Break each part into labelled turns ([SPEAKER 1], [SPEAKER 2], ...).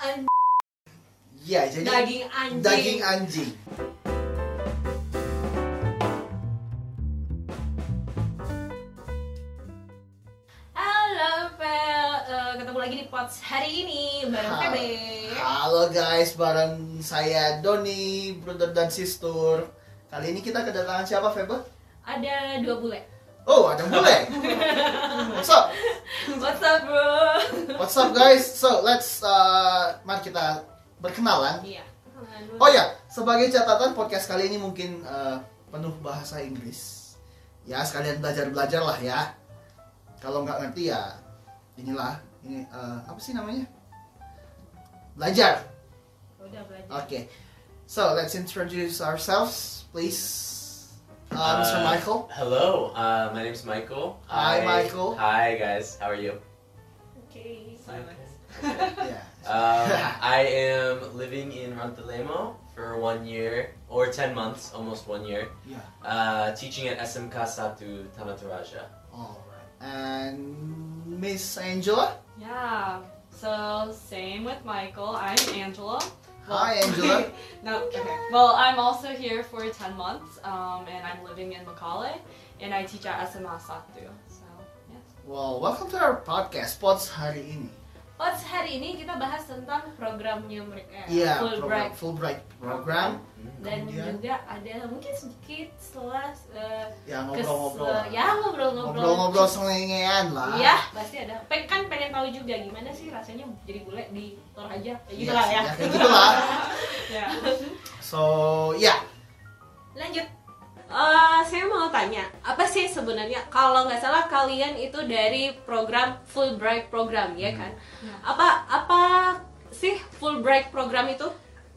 [SPEAKER 1] an-
[SPEAKER 2] Ya, jadi
[SPEAKER 1] daging anjing.
[SPEAKER 2] daging anjing.
[SPEAKER 1] Halo, Fel. Eh, ketemu lagi di Pots hari ini bareng
[SPEAKER 2] Ha-
[SPEAKER 1] Febe.
[SPEAKER 2] Halo guys, bareng saya Doni, brother dan sister. Kali ini kita kedatangan siapa, Feba?
[SPEAKER 1] Ada dua bule.
[SPEAKER 2] Oh, ada bule. What's up?
[SPEAKER 1] What's up, bro?
[SPEAKER 2] What's up guys? So, let's uh, mari kita berkenalan.
[SPEAKER 1] Iya.
[SPEAKER 2] Oh ya, sebagai catatan podcast kali ini mungkin uh, penuh bahasa Inggris. Ya, sekalian belajar-belajar lah ya. Kalau nggak ngerti ya inilah ini uh, apa sih namanya? Belajar.
[SPEAKER 1] Udah belajar.
[SPEAKER 2] Okay, so let's introduce ourselves, please. Uh, Mr.
[SPEAKER 3] Uh,
[SPEAKER 2] Michael.
[SPEAKER 3] Hello, uh, my name's Michael.
[SPEAKER 2] Hi,
[SPEAKER 3] I-
[SPEAKER 2] Michael.
[SPEAKER 3] Hi, guys. How are you?
[SPEAKER 1] Oke, silence.
[SPEAKER 2] Yeah.
[SPEAKER 3] Um, I am living in Rantalemo for one year or ten months, almost one year.
[SPEAKER 2] Yeah.
[SPEAKER 3] Uh, teaching at SMK Satu Tamataraja.
[SPEAKER 2] All right. And Miss Angela.
[SPEAKER 4] Yeah. So same with Michael. I'm Angela.
[SPEAKER 2] Hi, Angela.
[SPEAKER 4] no. Okay. Well, I'm also here for ten months, um, and I'm living in Macaulay, and I teach at SMA Satu. So yes.
[SPEAKER 2] well, welcome to our podcast, Pots Hari Ini.
[SPEAKER 1] Pots hari ini kita bahas tentang programnya mereka. Fulbright.
[SPEAKER 2] Yeah, Iya, program, Fulbright program.
[SPEAKER 1] Dan
[SPEAKER 2] Kemudian?
[SPEAKER 1] juga ada mungkin sedikit setelah eh,
[SPEAKER 2] Ya
[SPEAKER 1] kes-
[SPEAKER 5] uh,
[SPEAKER 2] ngobrol-ngobrol.
[SPEAKER 1] ya ngobrol-ngobrol.
[SPEAKER 2] Ngobrol-ngobrol selengean lah.
[SPEAKER 1] Iya, pasti ada. Pengen kan pengen tahu juga gimana sih rasanya jadi bule di Toraja. Ya gitu
[SPEAKER 2] Yes,
[SPEAKER 1] lah ya.
[SPEAKER 2] ya, kayak gitu lah.
[SPEAKER 4] Yeah.
[SPEAKER 2] So, ya.
[SPEAKER 1] Lanjut.
[SPEAKER 5] Eh, saya mau tanya, apa sih sebenarnya kalau nggak salah kalian itu dari program Fulbright program
[SPEAKER 2] Hmm.
[SPEAKER 5] ya kan? Apa apa sih Fulbright program itu?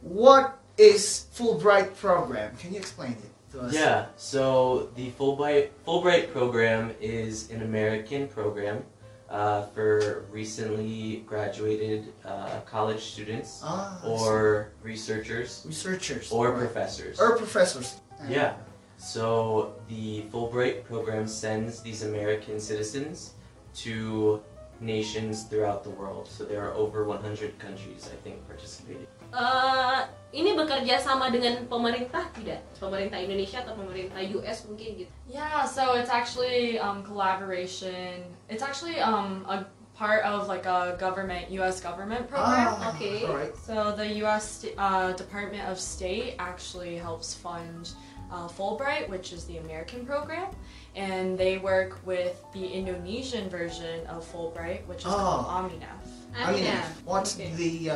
[SPEAKER 2] What is Fulbright program? Can you explain it to us?
[SPEAKER 3] Yeah, so the Fulbright Fulbright program is an American program uh, for recently graduated uh, college students
[SPEAKER 2] Ah,
[SPEAKER 3] or researchers
[SPEAKER 2] researchers
[SPEAKER 3] or professors.
[SPEAKER 2] or professors.
[SPEAKER 3] Yeah. So the Fulbright program sends these American citizens to nations throughout the world. So there are over 100 countries, I think, participating.
[SPEAKER 5] Eh, ini bekerja sama dengan pemerintah tidak? Pemerintah Indonesia atau pemerintah US mungkin gitu?
[SPEAKER 4] Yeah. So it's actually um, collaboration. It's actually um, a part of like a government U.S. government program.
[SPEAKER 2] Ah,
[SPEAKER 5] okay.
[SPEAKER 2] alright.
[SPEAKER 4] So the U.S. st- uh, Department of State actually helps fund uh, Fulbright, which is the American program, and they work with the Indonesian version of Fulbright, which is called Aminaf.
[SPEAKER 2] I mean,
[SPEAKER 5] Aminah.
[SPEAKER 2] what's
[SPEAKER 5] Okay.
[SPEAKER 2] the uh,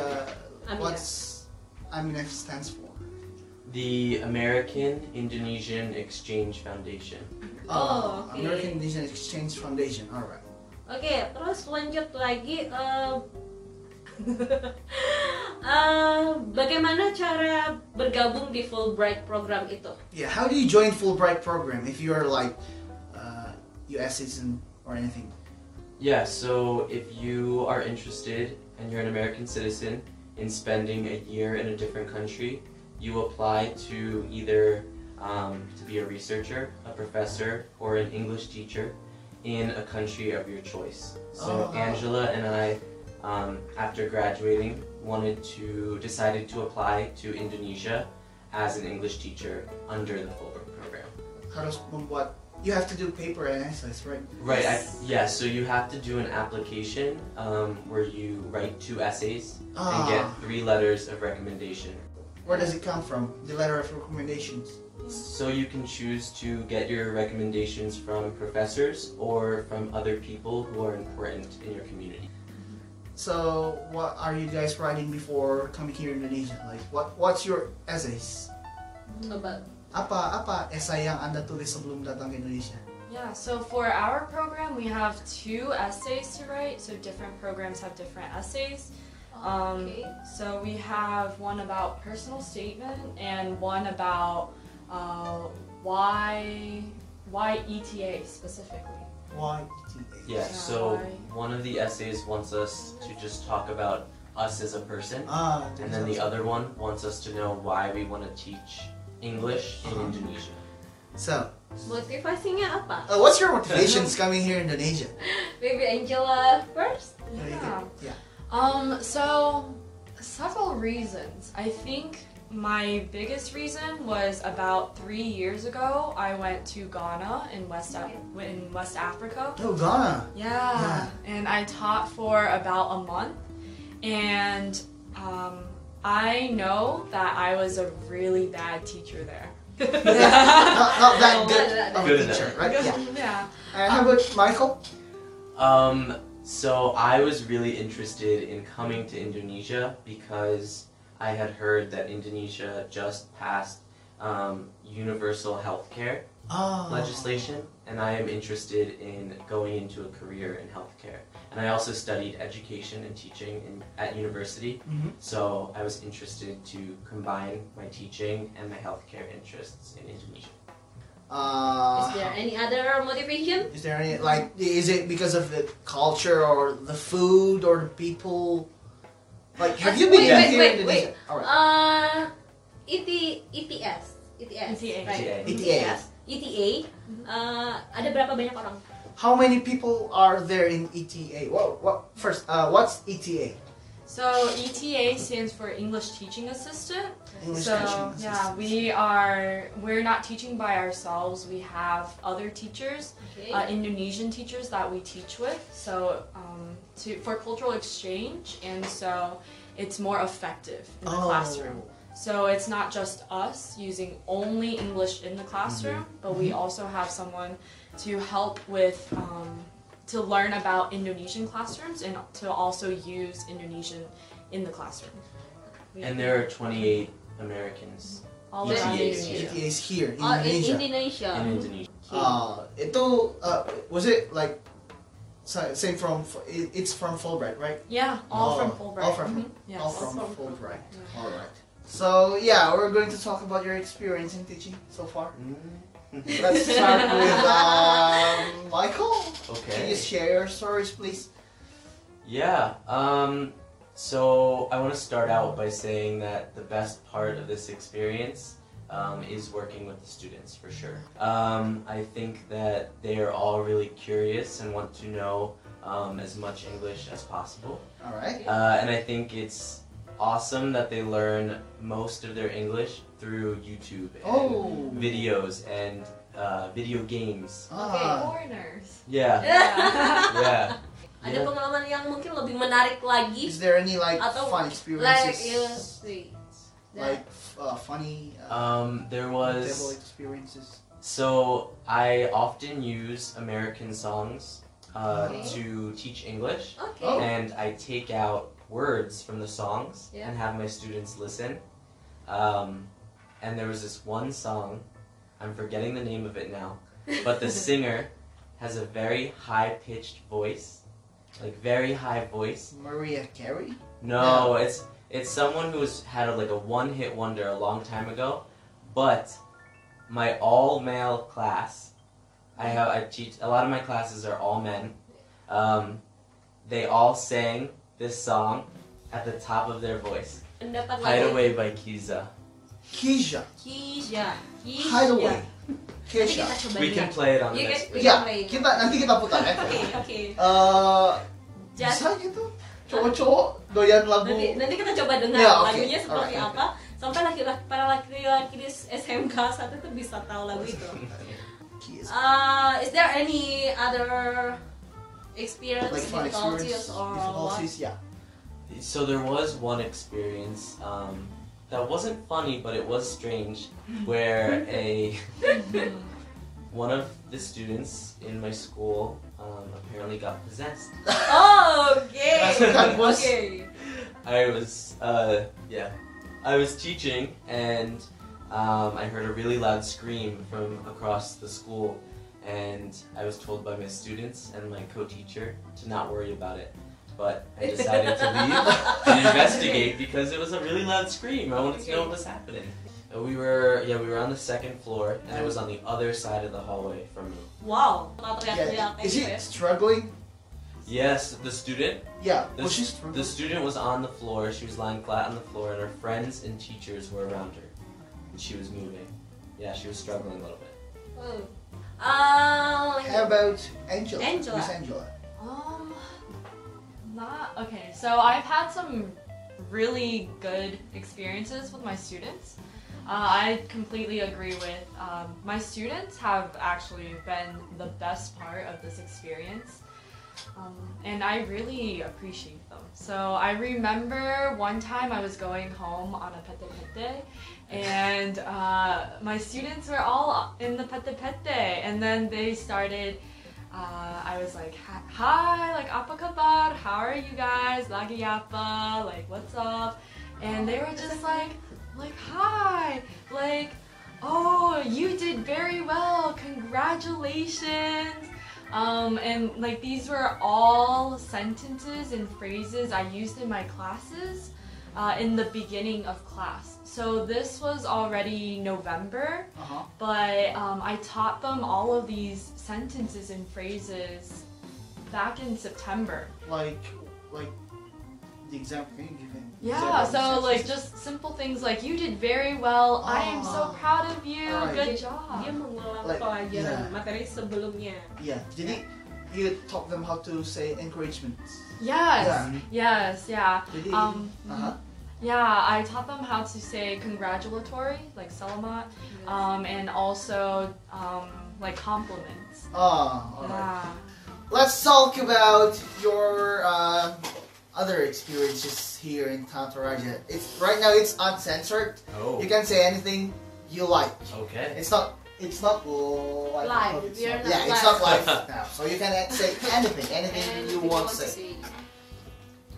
[SPEAKER 5] Aminah.
[SPEAKER 2] what's IMF stands for?
[SPEAKER 3] The American Indonesian Exchange Foundation.
[SPEAKER 5] Oh, okay.
[SPEAKER 2] Uh, American Indonesian Exchange Foundation. All right.
[SPEAKER 5] Oke, terus lanjut lagi eh, eh, bagaimana cara bergabung di Fulbright program itu?
[SPEAKER 2] Yeah. How do you join Fulbright program if you are like uh, U.S. citizen or anything?
[SPEAKER 3] Yeah, so if you are interested and you're an American citizen in spending a year in a different country, you apply to either um, to be a researcher, a professor, or an English teacher in a country of your choice. So
[SPEAKER 2] Oh.
[SPEAKER 3] Angela and I, um, after graduating, wanted to decided to apply to Indonesia as an English teacher under the Fulbright program.
[SPEAKER 2] Harus membuat. You have to do paper and essays, right?
[SPEAKER 3] Right. I, yeah. So you have to do an application um, where you write two essays and get
[SPEAKER 2] Ah.
[SPEAKER 3] three letters of recommendation.
[SPEAKER 2] Where does it come from? The letter of recommendations.
[SPEAKER 3] So you can choose to get your recommendations from professors or from other people who are important in your community.
[SPEAKER 2] So, what are you guys writing before coming here in Indonesia? Like, what what's your essays?
[SPEAKER 5] Coba
[SPEAKER 2] Apa apa esai yang anda tulis sebelum datang ke Indonesia?
[SPEAKER 4] Yeah, so for our program, we have two essays to write, so different programs have different essays. Um,
[SPEAKER 5] Oke.
[SPEAKER 4] So we have one about personal statement and one about uh, why, why ETA specifically.
[SPEAKER 2] Why?
[SPEAKER 4] Yeah,
[SPEAKER 3] Yeah. So
[SPEAKER 4] I-
[SPEAKER 3] one of the essays wants us to just talk about us as a person,
[SPEAKER 2] Ah,
[SPEAKER 3] and then the other one wants us to know why we want to teach English in
[SPEAKER 2] Uh-huh.
[SPEAKER 3] Indonesia.
[SPEAKER 2] So,
[SPEAKER 5] motivasinya apa?
[SPEAKER 2] uh, what's your motivations coming here in Indonesia?
[SPEAKER 5] Baby Angela first.
[SPEAKER 2] Yeah.
[SPEAKER 4] Yeah. Um, so Several reasons. I think my biggest reason was about three years ago. I went to Ghana in West Af- in West Africa.
[SPEAKER 2] Oh, Ghana.
[SPEAKER 4] Yeah, and I taught for about a month, and um, I know that I was a really bad teacher there.
[SPEAKER 2] Not, not
[SPEAKER 5] Oh,
[SPEAKER 2] that good of a
[SPEAKER 3] Good
[SPEAKER 2] teacher,
[SPEAKER 3] enough.
[SPEAKER 2] right?
[SPEAKER 4] yeah.
[SPEAKER 2] Yeah. And how about Michael?
[SPEAKER 3] Um, so I was really interested in coming to Indonesia because I had heard that Indonesia just passed um, universal health care
[SPEAKER 2] Oh.
[SPEAKER 3] legislation, and I am interested in going into a career in healthcare. And I also studied education and teaching in, at university,
[SPEAKER 2] Mhm.
[SPEAKER 3] so I was interested to combine my teaching and my healthcare interests in Indonesia.
[SPEAKER 2] Uh,
[SPEAKER 5] Is there any other motivation?
[SPEAKER 2] Is there any like is it because of the culture or the food or the people? Like have you been
[SPEAKER 5] Wait,
[SPEAKER 3] wait,
[SPEAKER 2] here
[SPEAKER 5] wait,
[SPEAKER 2] in Indonesia? All right.
[SPEAKER 5] Uh, E ET, ETS, ETS,
[SPEAKER 4] ETA.
[SPEAKER 5] right? E
[SPEAKER 3] ETA.
[SPEAKER 2] ETA.
[SPEAKER 5] ETA. Uh, ada berapa banyak orang?
[SPEAKER 2] How many people are there in ETA? Well, what first? Uh, what's ETA?
[SPEAKER 4] So ETA stands for English Teaching Assistant.
[SPEAKER 2] English
[SPEAKER 4] so
[SPEAKER 2] Teaching
[SPEAKER 4] yeah,
[SPEAKER 2] Assistant.
[SPEAKER 4] we are we're not teaching by ourselves. We have other teachers,
[SPEAKER 5] Okay.
[SPEAKER 4] uh, Indonesian teachers that we teach with. So um, to for cultural exchange, and so it's more effective in the
[SPEAKER 2] Oh.
[SPEAKER 4] classroom. So it's not just us using only English in the classroom, but we also have someone to help with um, to learn about Indonesian classrooms and to also use Indonesian in the classroom.
[SPEAKER 3] And there are 28 Americans
[SPEAKER 4] All
[SPEAKER 3] ETAs.
[SPEAKER 4] around
[SPEAKER 3] Yeah.
[SPEAKER 4] Indonesia.
[SPEAKER 2] ETA E is here in
[SPEAKER 5] Oh, in
[SPEAKER 2] Indonesia.
[SPEAKER 5] Indonesia.
[SPEAKER 3] in Indonesia.
[SPEAKER 5] Okay.
[SPEAKER 2] Uh, itu uh, was it like sa- same from it- it's from Fulbright, right?
[SPEAKER 4] Yeah, all
[SPEAKER 2] Oh,
[SPEAKER 4] from Fulbright.
[SPEAKER 2] all
[SPEAKER 4] Mhm.
[SPEAKER 2] from-
[SPEAKER 4] Yes.
[SPEAKER 2] All from
[SPEAKER 5] from
[SPEAKER 2] Fulbright.
[SPEAKER 4] Fulbright.
[SPEAKER 2] All right. So yeah, we're going to talk about your experience in teaching so far. Let's start with um, Michael.
[SPEAKER 3] Okay.
[SPEAKER 2] Can you share your stories, please?
[SPEAKER 3] Yeah. Um, so I want to start out by saying that the best part of this experience um, is working with the students for sure. Um, I think that they are all really curious and want to know um, as much English as possible.
[SPEAKER 2] All right.
[SPEAKER 3] Uh, and I think it's awesome that they learn most of their English through YouTube and
[SPEAKER 2] Oh.
[SPEAKER 3] videos and uh, video games.
[SPEAKER 2] Ah.
[SPEAKER 4] Foreigners.
[SPEAKER 3] Yeah. Yeah.
[SPEAKER 5] Ada
[SPEAKER 3] Yeah.
[SPEAKER 5] pengalaman yang mungkin lebih menarik lagi.
[SPEAKER 2] Is there any like
[SPEAKER 5] Atau-
[SPEAKER 2] fun
[SPEAKER 5] Like,
[SPEAKER 2] experiences?
[SPEAKER 5] you see. Nah,
[SPEAKER 2] Like, f- uh, funny uh,
[SPEAKER 3] Um, there was.
[SPEAKER 2] table experiences.
[SPEAKER 3] So I often use American songs uh,
[SPEAKER 2] Okay.
[SPEAKER 3] to teach English,
[SPEAKER 5] Okay.
[SPEAKER 2] Oh.
[SPEAKER 3] and I take out words from the songs
[SPEAKER 5] Yeah.
[SPEAKER 3] and have my students listen. Um, and there was this one song, I'm forgetting the name of it now, but the singer has a very high pitched voice, like very high voice.
[SPEAKER 2] Maria Carey.
[SPEAKER 3] No, it's it's someone who's had a, like a one hit wonder a long time ago, but my all male class, I have I teach a lot of my classes are all men. Um, they all sang this song at the top of their voice.
[SPEAKER 5] Pendapat lagi.
[SPEAKER 3] Hideaway by Kiza.
[SPEAKER 2] Keisha.
[SPEAKER 5] Kisha. Kisha.
[SPEAKER 2] Hideaway.
[SPEAKER 5] Nanti
[SPEAKER 2] Keisha.
[SPEAKER 5] kita coba
[SPEAKER 3] We can
[SPEAKER 5] lihat.
[SPEAKER 3] play it on the
[SPEAKER 5] You
[SPEAKER 3] next.
[SPEAKER 5] can-
[SPEAKER 3] week.
[SPEAKER 5] Yeah.
[SPEAKER 2] Ya, kita nanti kita putar ya.
[SPEAKER 5] Oke, oke.
[SPEAKER 2] Uh,
[SPEAKER 5] Just-
[SPEAKER 2] bisa gitu. Cowok-cowok doyan lagu.
[SPEAKER 5] Nanti, nanti kita coba dengar
[SPEAKER 2] Ya, oke.
[SPEAKER 5] lagunya seperti
[SPEAKER 2] Alright.
[SPEAKER 5] apa sampai laki-laki para laki-laki di SMK satu tuh bisa tahu lagu itu.
[SPEAKER 2] Keisha.
[SPEAKER 5] Uh, is there any other experience
[SPEAKER 2] Like fun
[SPEAKER 5] difficulties
[SPEAKER 2] experiences,
[SPEAKER 5] or what?
[SPEAKER 2] difficulties, yeah.
[SPEAKER 3] So there was one experience um, that wasn't funny, but it was strange, where a one of the students in my school um, apparently got possessed.
[SPEAKER 5] Oh, okay.
[SPEAKER 2] That was-
[SPEAKER 5] Okay.
[SPEAKER 3] I was uh, yeah, I was teaching, and um, I heard a really loud scream from across the school, and I was told by my students and my co-teacher to not worry about it. But I decided to leave and investigate because it was a really loud scream. I wanted to know what was happening. Uh, We were yeah, we were on the second floor and it was on the other side of the hallway from me.
[SPEAKER 5] Wow. Nggak teriak-teriak
[SPEAKER 2] Yeah.
[SPEAKER 5] kayak
[SPEAKER 2] Is
[SPEAKER 5] gitu
[SPEAKER 2] he
[SPEAKER 5] ya.
[SPEAKER 2] struggling?
[SPEAKER 3] Yes, the student
[SPEAKER 2] Yeah.
[SPEAKER 3] The
[SPEAKER 2] Was she
[SPEAKER 3] s- the
[SPEAKER 2] struggling?
[SPEAKER 3] student was on the floor, she was lying flat on the floor and her friends and teachers were around her. And she was moving. Yeah, she was struggling a little bit.
[SPEAKER 5] Oh. Uh,
[SPEAKER 2] How about Angela?
[SPEAKER 5] Angela.
[SPEAKER 2] Miss Angela.
[SPEAKER 4] Um, not okay. So I've had some really good experiences with my students. Uh, I completely agree with um, my students have actually been the best part of this experience. Um, and I really appreciate them. So I remember one time I was going home on a pete pete, and uh, my students were all in the pete pete, and then they started. Uh, I was like, hi, like apa kabar? How are you guys? Lagi apa? Like what's up? And they were just like, like hi, like oh you did very well, congratulations. Um, and like these were all sentences and phrases I used in my classes uh, in the beginning of class. So this was already November,
[SPEAKER 2] Uh-huh.
[SPEAKER 4] but um, I taught them all of these sentences and phrases back in September.
[SPEAKER 2] Like, like the example. Can you give an
[SPEAKER 4] Yeah,
[SPEAKER 2] example of
[SPEAKER 4] so
[SPEAKER 2] the
[SPEAKER 4] like
[SPEAKER 2] sentence?
[SPEAKER 4] just simple things like you did very well. I am so
[SPEAKER 2] Ah.
[SPEAKER 4] proud of you.
[SPEAKER 2] Alright.
[SPEAKER 4] Good job.
[SPEAKER 5] Dia mengulang
[SPEAKER 2] Like,
[SPEAKER 5] pelajaran
[SPEAKER 2] yeah.
[SPEAKER 5] materi sebelumnya.
[SPEAKER 2] Yeah. Jadi, you taught them how to say encouragement.
[SPEAKER 4] Yes.
[SPEAKER 2] Yeah.
[SPEAKER 4] Yes. Yeah.
[SPEAKER 2] Jadi,
[SPEAKER 4] Um.
[SPEAKER 2] uh-huh.
[SPEAKER 4] Yeah. I taught them how to say congratulatory, like salamat,
[SPEAKER 5] Uh,
[SPEAKER 4] um, and also um, like compliments.
[SPEAKER 2] Oh, alright.
[SPEAKER 4] Yeah.
[SPEAKER 2] Let's talk about your uh, other experiences here in Tataraja. It's right now it's uncensored.
[SPEAKER 3] Oh.
[SPEAKER 2] You can say anything you like.
[SPEAKER 3] Okay.
[SPEAKER 2] It's not. It's not live.
[SPEAKER 5] Live.
[SPEAKER 2] It's
[SPEAKER 5] We are
[SPEAKER 2] not-
[SPEAKER 5] not
[SPEAKER 2] yeah, it's not
[SPEAKER 5] live.
[SPEAKER 2] live now. So you can uh, say anything, anything you want to say.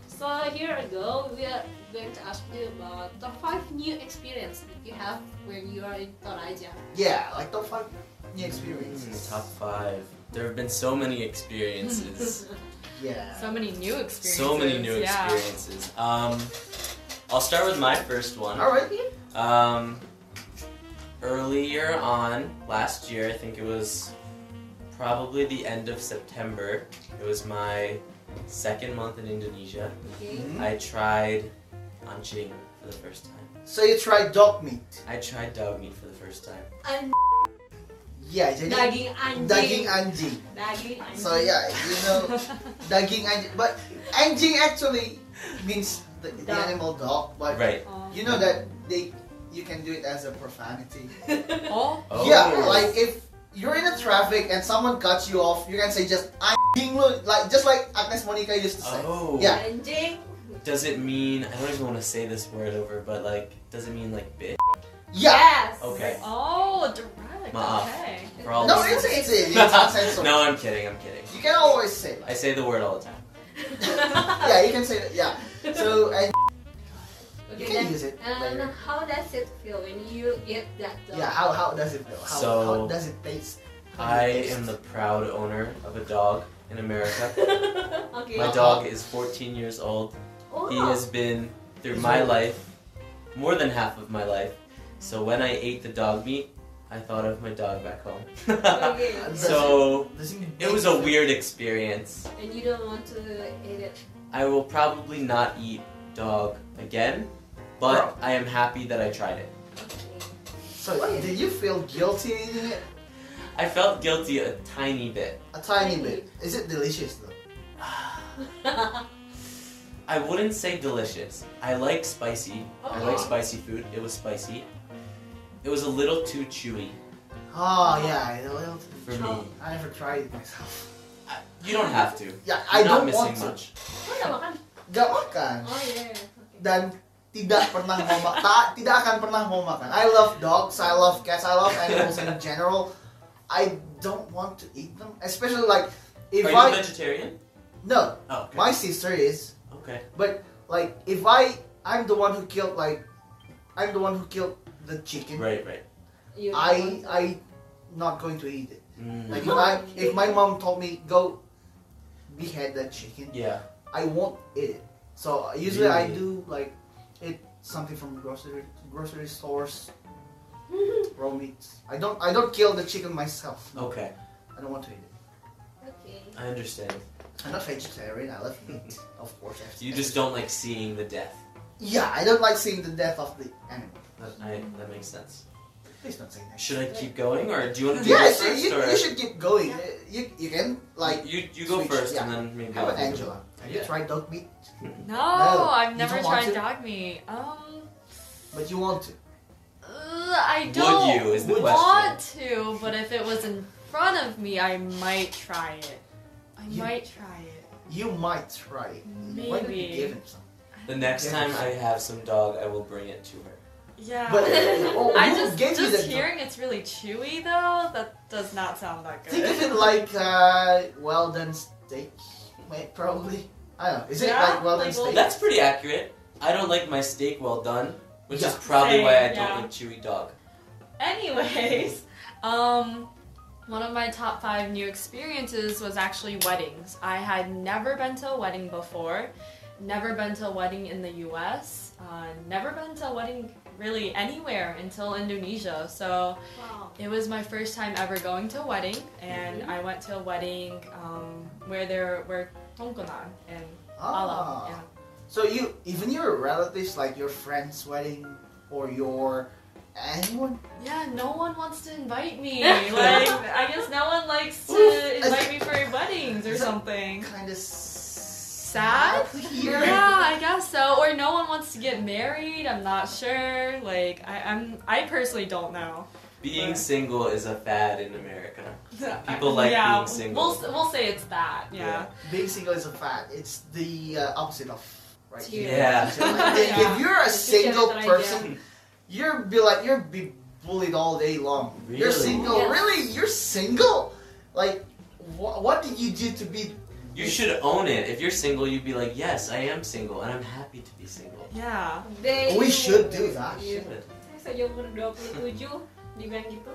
[SPEAKER 5] So here ago, we are going to ask you about the five new experience that you have when you are in Toraja.
[SPEAKER 2] Yeah, like top five new experiences.
[SPEAKER 3] Mm, top five. There have been so many experiences.
[SPEAKER 2] Yeah.
[SPEAKER 4] So many new experiences.
[SPEAKER 3] so many new
[SPEAKER 4] yeah.
[SPEAKER 3] experiences. Um, I'll start with my first one.
[SPEAKER 2] All right.
[SPEAKER 3] Um, earlier on last year, I think it was probably the end of September. It was my second month in Indonesia.
[SPEAKER 5] Okay.
[SPEAKER 3] I tried anjing for the first time.
[SPEAKER 2] So you try dog meat.
[SPEAKER 3] I tried dog meat for the first time.
[SPEAKER 5] An-
[SPEAKER 2] Yeah, jadi
[SPEAKER 5] daging anjing.
[SPEAKER 2] daging anjing.
[SPEAKER 5] Daging anjing.
[SPEAKER 2] So yeah, you know daging anjing, but anjing actually means the, the
[SPEAKER 5] Dog.
[SPEAKER 2] animal dog. But
[SPEAKER 3] Right.
[SPEAKER 2] you know that they you can do it as a profanity.
[SPEAKER 4] Oh.
[SPEAKER 3] Oh.
[SPEAKER 2] Yeah, like if you're in a traffic and someone cuts you off, you can say just anjing lu, like just like Agnes Monica used to say.
[SPEAKER 3] Oh.
[SPEAKER 2] Yeah.
[SPEAKER 5] Anjing.
[SPEAKER 3] Does it mean I don't even want to say this word over, but like, does it mean like bitch?
[SPEAKER 2] Yeah.
[SPEAKER 5] Yes.
[SPEAKER 3] Okay.
[SPEAKER 4] Oh, direct.
[SPEAKER 3] Maaf.
[SPEAKER 4] Okay.
[SPEAKER 3] For all
[SPEAKER 2] No,
[SPEAKER 3] listeners.
[SPEAKER 2] it's it's it's not censored.
[SPEAKER 3] no, I'm kidding. I'm kidding.
[SPEAKER 2] You can always say
[SPEAKER 3] I
[SPEAKER 2] like.
[SPEAKER 3] say the word all the time.
[SPEAKER 2] yeah, you can say that. Yeah. So and you
[SPEAKER 5] Okay, Uh,
[SPEAKER 2] can
[SPEAKER 5] then,
[SPEAKER 2] use it.
[SPEAKER 5] And
[SPEAKER 2] later.
[SPEAKER 5] how does it feel when you eat that dog?
[SPEAKER 2] Yeah. How how does it feel? How,
[SPEAKER 3] So,
[SPEAKER 2] how does it taste? How does
[SPEAKER 3] I
[SPEAKER 2] it taste?
[SPEAKER 3] am the proud owner of a dog in America.
[SPEAKER 5] okay.
[SPEAKER 3] My dog is 14 years old.
[SPEAKER 5] Oh.
[SPEAKER 3] He has been through
[SPEAKER 2] He's
[SPEAKER 3] my
[SPEAKER 2] old.
[SPEAKER 3] life, more than half of my life. So when I ate the dog meat, I thought of my dog back home.
[SPEAKER 5] Okay.
[SPEAKER 3] so
[SPEAKER 2] Does it,
[SPEAKER 3] it was a weird experience.
[SPEAKER 5] And you don't want to eat it.
[SPEAKER 3] I will probably not eat dog again, but I am happy that I tried it.
[SPEAKER 5] Okay.
[SPEAKER 2] So did you feel guilty eating it?
[SPEAKER 3] I felt guilty a tiny bit.
[SPEAKER 2] A tiny bit. Is it delicious though?
[SPEAKER 3] I wouldn't say delicious. I like spicy. I like
[SPEAKER 2] Uh-huh.
[SPEAKER 5] Oh.
[SPEAKER 3] spicy food. It was spicy. It was a little too chewy
[SPEAKER 2] Oh yeah, a little.
[SPEAKER 3] for me.
[SPEAKER 5] Oh.
[SPEAKER 2] I never tried it myself.
[SPEAKER 3] You don't have to.
[SPEAKER 2] Yeah, I
[SPEAKER 3] You're not
[SPEAKER 2] don't
[SPEAKER 3] missing
[SPEAKER 2] want to.
[SPEAKER 3] much.
[SPEAKER 5] Kau udah makan?
[SPEAKER 2] Gak makan.
[SPEAKER 5] Oh iya. Okay.
[SPEAKER 2] dan tidak pernah mau makan tidak akan pernah mau makan I love dogs I love cats I love animals in general I don't want to eat them especially like if
[SPEAKER 3] Are you
[SPEAKER 2] I
[SPEAKER 3] a vegetarian?
[SPEAKER 2] no
[SPEAKER 3] Oh, okay.
[SPEAKER 2] my sister is
[SPEAKER 3] okay.
[SPEAKER 2] like if I I'm the one who killed like I'm the one who killed the chicken
[SPEAKER 3] Right, right.
[SPEAKER 5] You don't
[SPEAKER 2] I
[SPEAKER 5] want to-
[SPEAKER 2] I not going to eat it
[SPEAKER 3] Mm,
[SPEAKER 2] like if I if my mom told me go behead that chicken
[SPEAKER 3] yeah.
[SPEAKER 2] I won't eat it. So uh, usually I
[SPEAKER 3] Really?
[SPEAKER 2] do like eat something from grocery grocery stores, raw meats. I don't I don't kill the chicken myself.
[SPEAKER 3] Okay.
[SPEAKER 2] I don't want to eat it.
[SPEAKER 5] Okay.
[SPEAKER 3] I understand.
[SPEAKER 2] I'm not vegetarian. I love meat, of course.
[SPEAKER 3] You just don't like seeing the death.
[SPEAKER 2] Yeah, I don't like seeing the death of the animal.
[SPEAKER 3] That, I, that makes sense.
[SPEAKER 2] Please don't say that.
[SPEAKER 3] Should I keep going or do you want to do
[SPEAKER 2] Yes,
[SPEAKER 3] this
[SPEAKER 2] you,
[SPEAKER 3] first? or-
[SPEAKER 2] you should keep going. You, you can like
[SPEAKER 3] you you go
[SPEAKER 2] switch,
[SPEAKER 3] first
[SPEAKER 2] yeah.
[SPEAKER 3] and then maybe
[SPEAKER 2] how
[SPEAKER 3] I'll
[SPEAKER 2] about
[SPEAKER 3] think
[SPEAKER 2] Angela? Have you
[SPEAKER 3] Yeah.
[SPEAKER 2] tried dog meat?
[SPEAKER 4] No,
[SPEAKER 2] No,
[SPEAKER 4] I've
[SPEAKER 2] you
[SPEAKER 4] never
[SPEAKER 2] don't want
[SPEAKER 4] tried
[SPEAKER 2] to?
[SPEAKER 4] dog meat. Um,
[SPEAKER 2] But you want to.
[SPEAKER 4] uh, I don't
[SPEAKER 3] you is the
[SPEAKER 4] want to, but if it was in front of me, I might try it. I
[SPEAKER 2] You-
[SPEAKER 4] might try it.
[SPEAKER 2] You might try it. Why don't you
[SPEAKER 4] Maybe.
[SPEAKER 2] give him some?
[SPEAKER 3] The next time I have some dog, I will bring it to her.
[SPEAKER 4] Yeah.
[SPEAKER 2] But oh,
[SPEAKER 4] I
[SPEAKER 2] you
[SPEAKER 4] just
[SPEAKER 2] gave me
[SPEAKER 4] just
[SPEAKER 2] the-
[SPEAKER 4] hearing it's really chewy though. That does not sound that
[SPEAKER 2] Think of
[SPEAKER 4] good.
[SPEAKER 2] it like uh, well done steak, mate, probably. I don't know. Is it
[SPEAKER 4] Yeah,
[SPEAKER 2] like well done
[SPEAKER 4] like well-
[SPEAKER 2] steak?
[SPEAKER 3] That's pretty accurate. I don't like my steak well done, which is
[SPEAKER 2] Yeah.
[SPEAKER 3] probably why I
[SPEAKER 4] Same,
[SPEAKER 3] don't
[SPEAKER 4] yeah.
[SPEAKER 3] like chewy dog.
[SPEAKER 4] Anyways, um, one of my top five new experiences was actually weddings. I had never been to a wedding before, never been to a wedding in the U.S., uh, never been to a wedding really anywhere until Indonesia. So.
[SPEAKER 5] Wow.
[SPEAKER 4] It was my first time ever going to a wedding, and
[SPEAKER 2] Mm-hmm.
[SPEAKER 4] I went to a wedding um, where there were tongkonan and
[SPEAKER 2] Ah.
[SPEAKER 4] ala. Yeah.
[SPEAKER 2] So you even your relatives, like your friend's wedding or your anyone.
[SPEAKER 4] yeah, no one wants to invite me. like, I guess no one likes to
[SPEAKER 2] Oof.
[SPEAKER 4] invite me for weddings or something.
[SPEAKER 2] Kind of sad
[SPEAKER 4] Sad?
[SPEAKER 2] here.
[SPEAKER 4] Yeah, I guess so. Or no one wants to get married. I'm not sure. Like, I, I'm I personally don't know. Right.
[SPEAKER 3] Being single is a fad in America. People like
[SPEAKER 4] yeah,
[SPEAKER 3] being single.
[SPEAKER 4] We'll s- we'll say it's that. Yeah.
[SPEAKER 2] Being single is a fad. It's the uh, opposite of right.
[SPEAKER 4] Cheers.
[SPEAKER 3] Yeah.
[SPEAKER 2] So, like, if-
[SPEAKER 4] Yeah.
[SPEAKER 2] If you're a
[SPEAKER 4] Just get
[SPEAKER 2] single
[SPEAKER 4] an idea.
[SPEAKER 2] person, you're be like you're be bullied all day long. You're
[SPEAKER 3] Really?
[SPEAKER 2] single,
[SPEAKER 5] Yes.
[SPEAKER 2] really? You're single? Like, wh- what did you do to be?
[SPEAKER 3] You should own it. If you're single, you'd be like, yes, I am single, and I'm happy to be single.
[SPEAKER 4] Yeah.
[SPEAKER 5] They-
[SPEAKER 2] We should do that.
[SPEAKER 3] You should.
[SPEAKER 5] Saya seumur 27 dibilang gitu.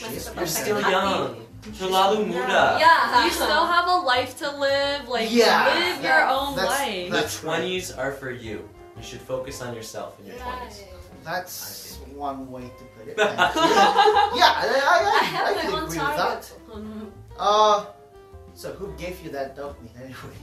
[SPEAKER 5] Masih tetap
[SPEAKER 3] You're
[SPEAKER 5] sakit
[SPEAKER 3] still
[SPEAKER 5] hati.
[SPEAKER 3] young. Terlalu muda.
[SPEAKER 5] Ya,
[SPEAKER 4] you still have a life to live. Like,
[SPEAKER 2] Yeah.
[SPEAKER 4] live your
[SPEAKER 5] Yeah.
[SPEAKER 4] own
[SPEAKER 2] That's-
[SPEAKER 4] life.
[SPEAKER 3] The
[SPEAKER 2] That's right.
[SPEAKER 3] twenties are for you. You should focus on yourself in your twenties.
[SPEAKER 2] That's one way to put it. Thank you.
[SPEAKER 4] I
[SPEAKER 2] yeah, I, I,
[SPEAKER 5] I
[SPEAKER 2] I,
[SPEAKER 5] have my
[SPEAKER 2] can
[SPEAKER 5] own
[SPEAKER 2] agree with that.
[SPEAKER 5] target. Hmm.
[SPEAKER 2] Uh, so who gave you that dog meat anyway?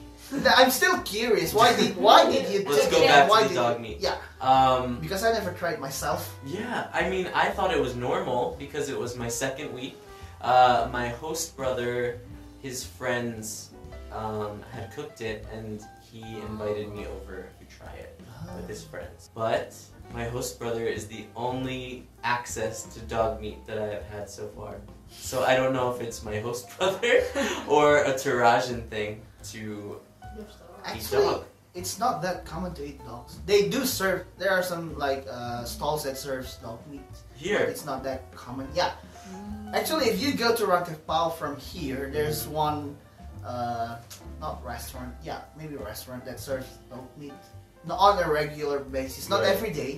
[SPEAKER 2] I'm still curious. Why did why did you?
[SPEAKER 3] Let's
[SPEAKER 2] do
[SPEAKER 3] go
[SPEAKER 2] that?
[SPEAKER 3] back to
[SPEAKER 2] why
[SPEAKER 3] the
[SPEAKER 2] did
[SPEAKER 3] dog
[SPEAKER 2] you-
[SPEAKER 3] meat.
[SPEAKER 2] Yeah,
[SPEAKER 3] Um,
[SPEAKER 2] because I never tried myself.
[SPEAKER 3] yeah, I mean, I thought it was normal because it was my second week. Uh, my host brother, his friends, um, had cooked it, and he invited me over to try it with his friends. But my host brother is the only access to dog meat that I have had so far. So I don't know if it's my host brother or a Tarajan thing to eat
[SPEAKER 2] Actually,
[SPEAKER 3] dog.
[SPEAKER 2] it's not that common to eat dogs. They do serve. There are some like uh, stalls that serves dog meat.
[SPEAKER 3] Here,
[SPEAKER 2] It's not that common. Yeah. Actually, if you go to Rakapal from here, there's
[SPEAKER 3] Mm.
[SPEAKER 2] one, uh, not restaurant. Yeah, maybe restaurant that serves dog meat, not on a regular basis. Not
[SPEAKER 3] Right.
[SPEAKER 2] every day.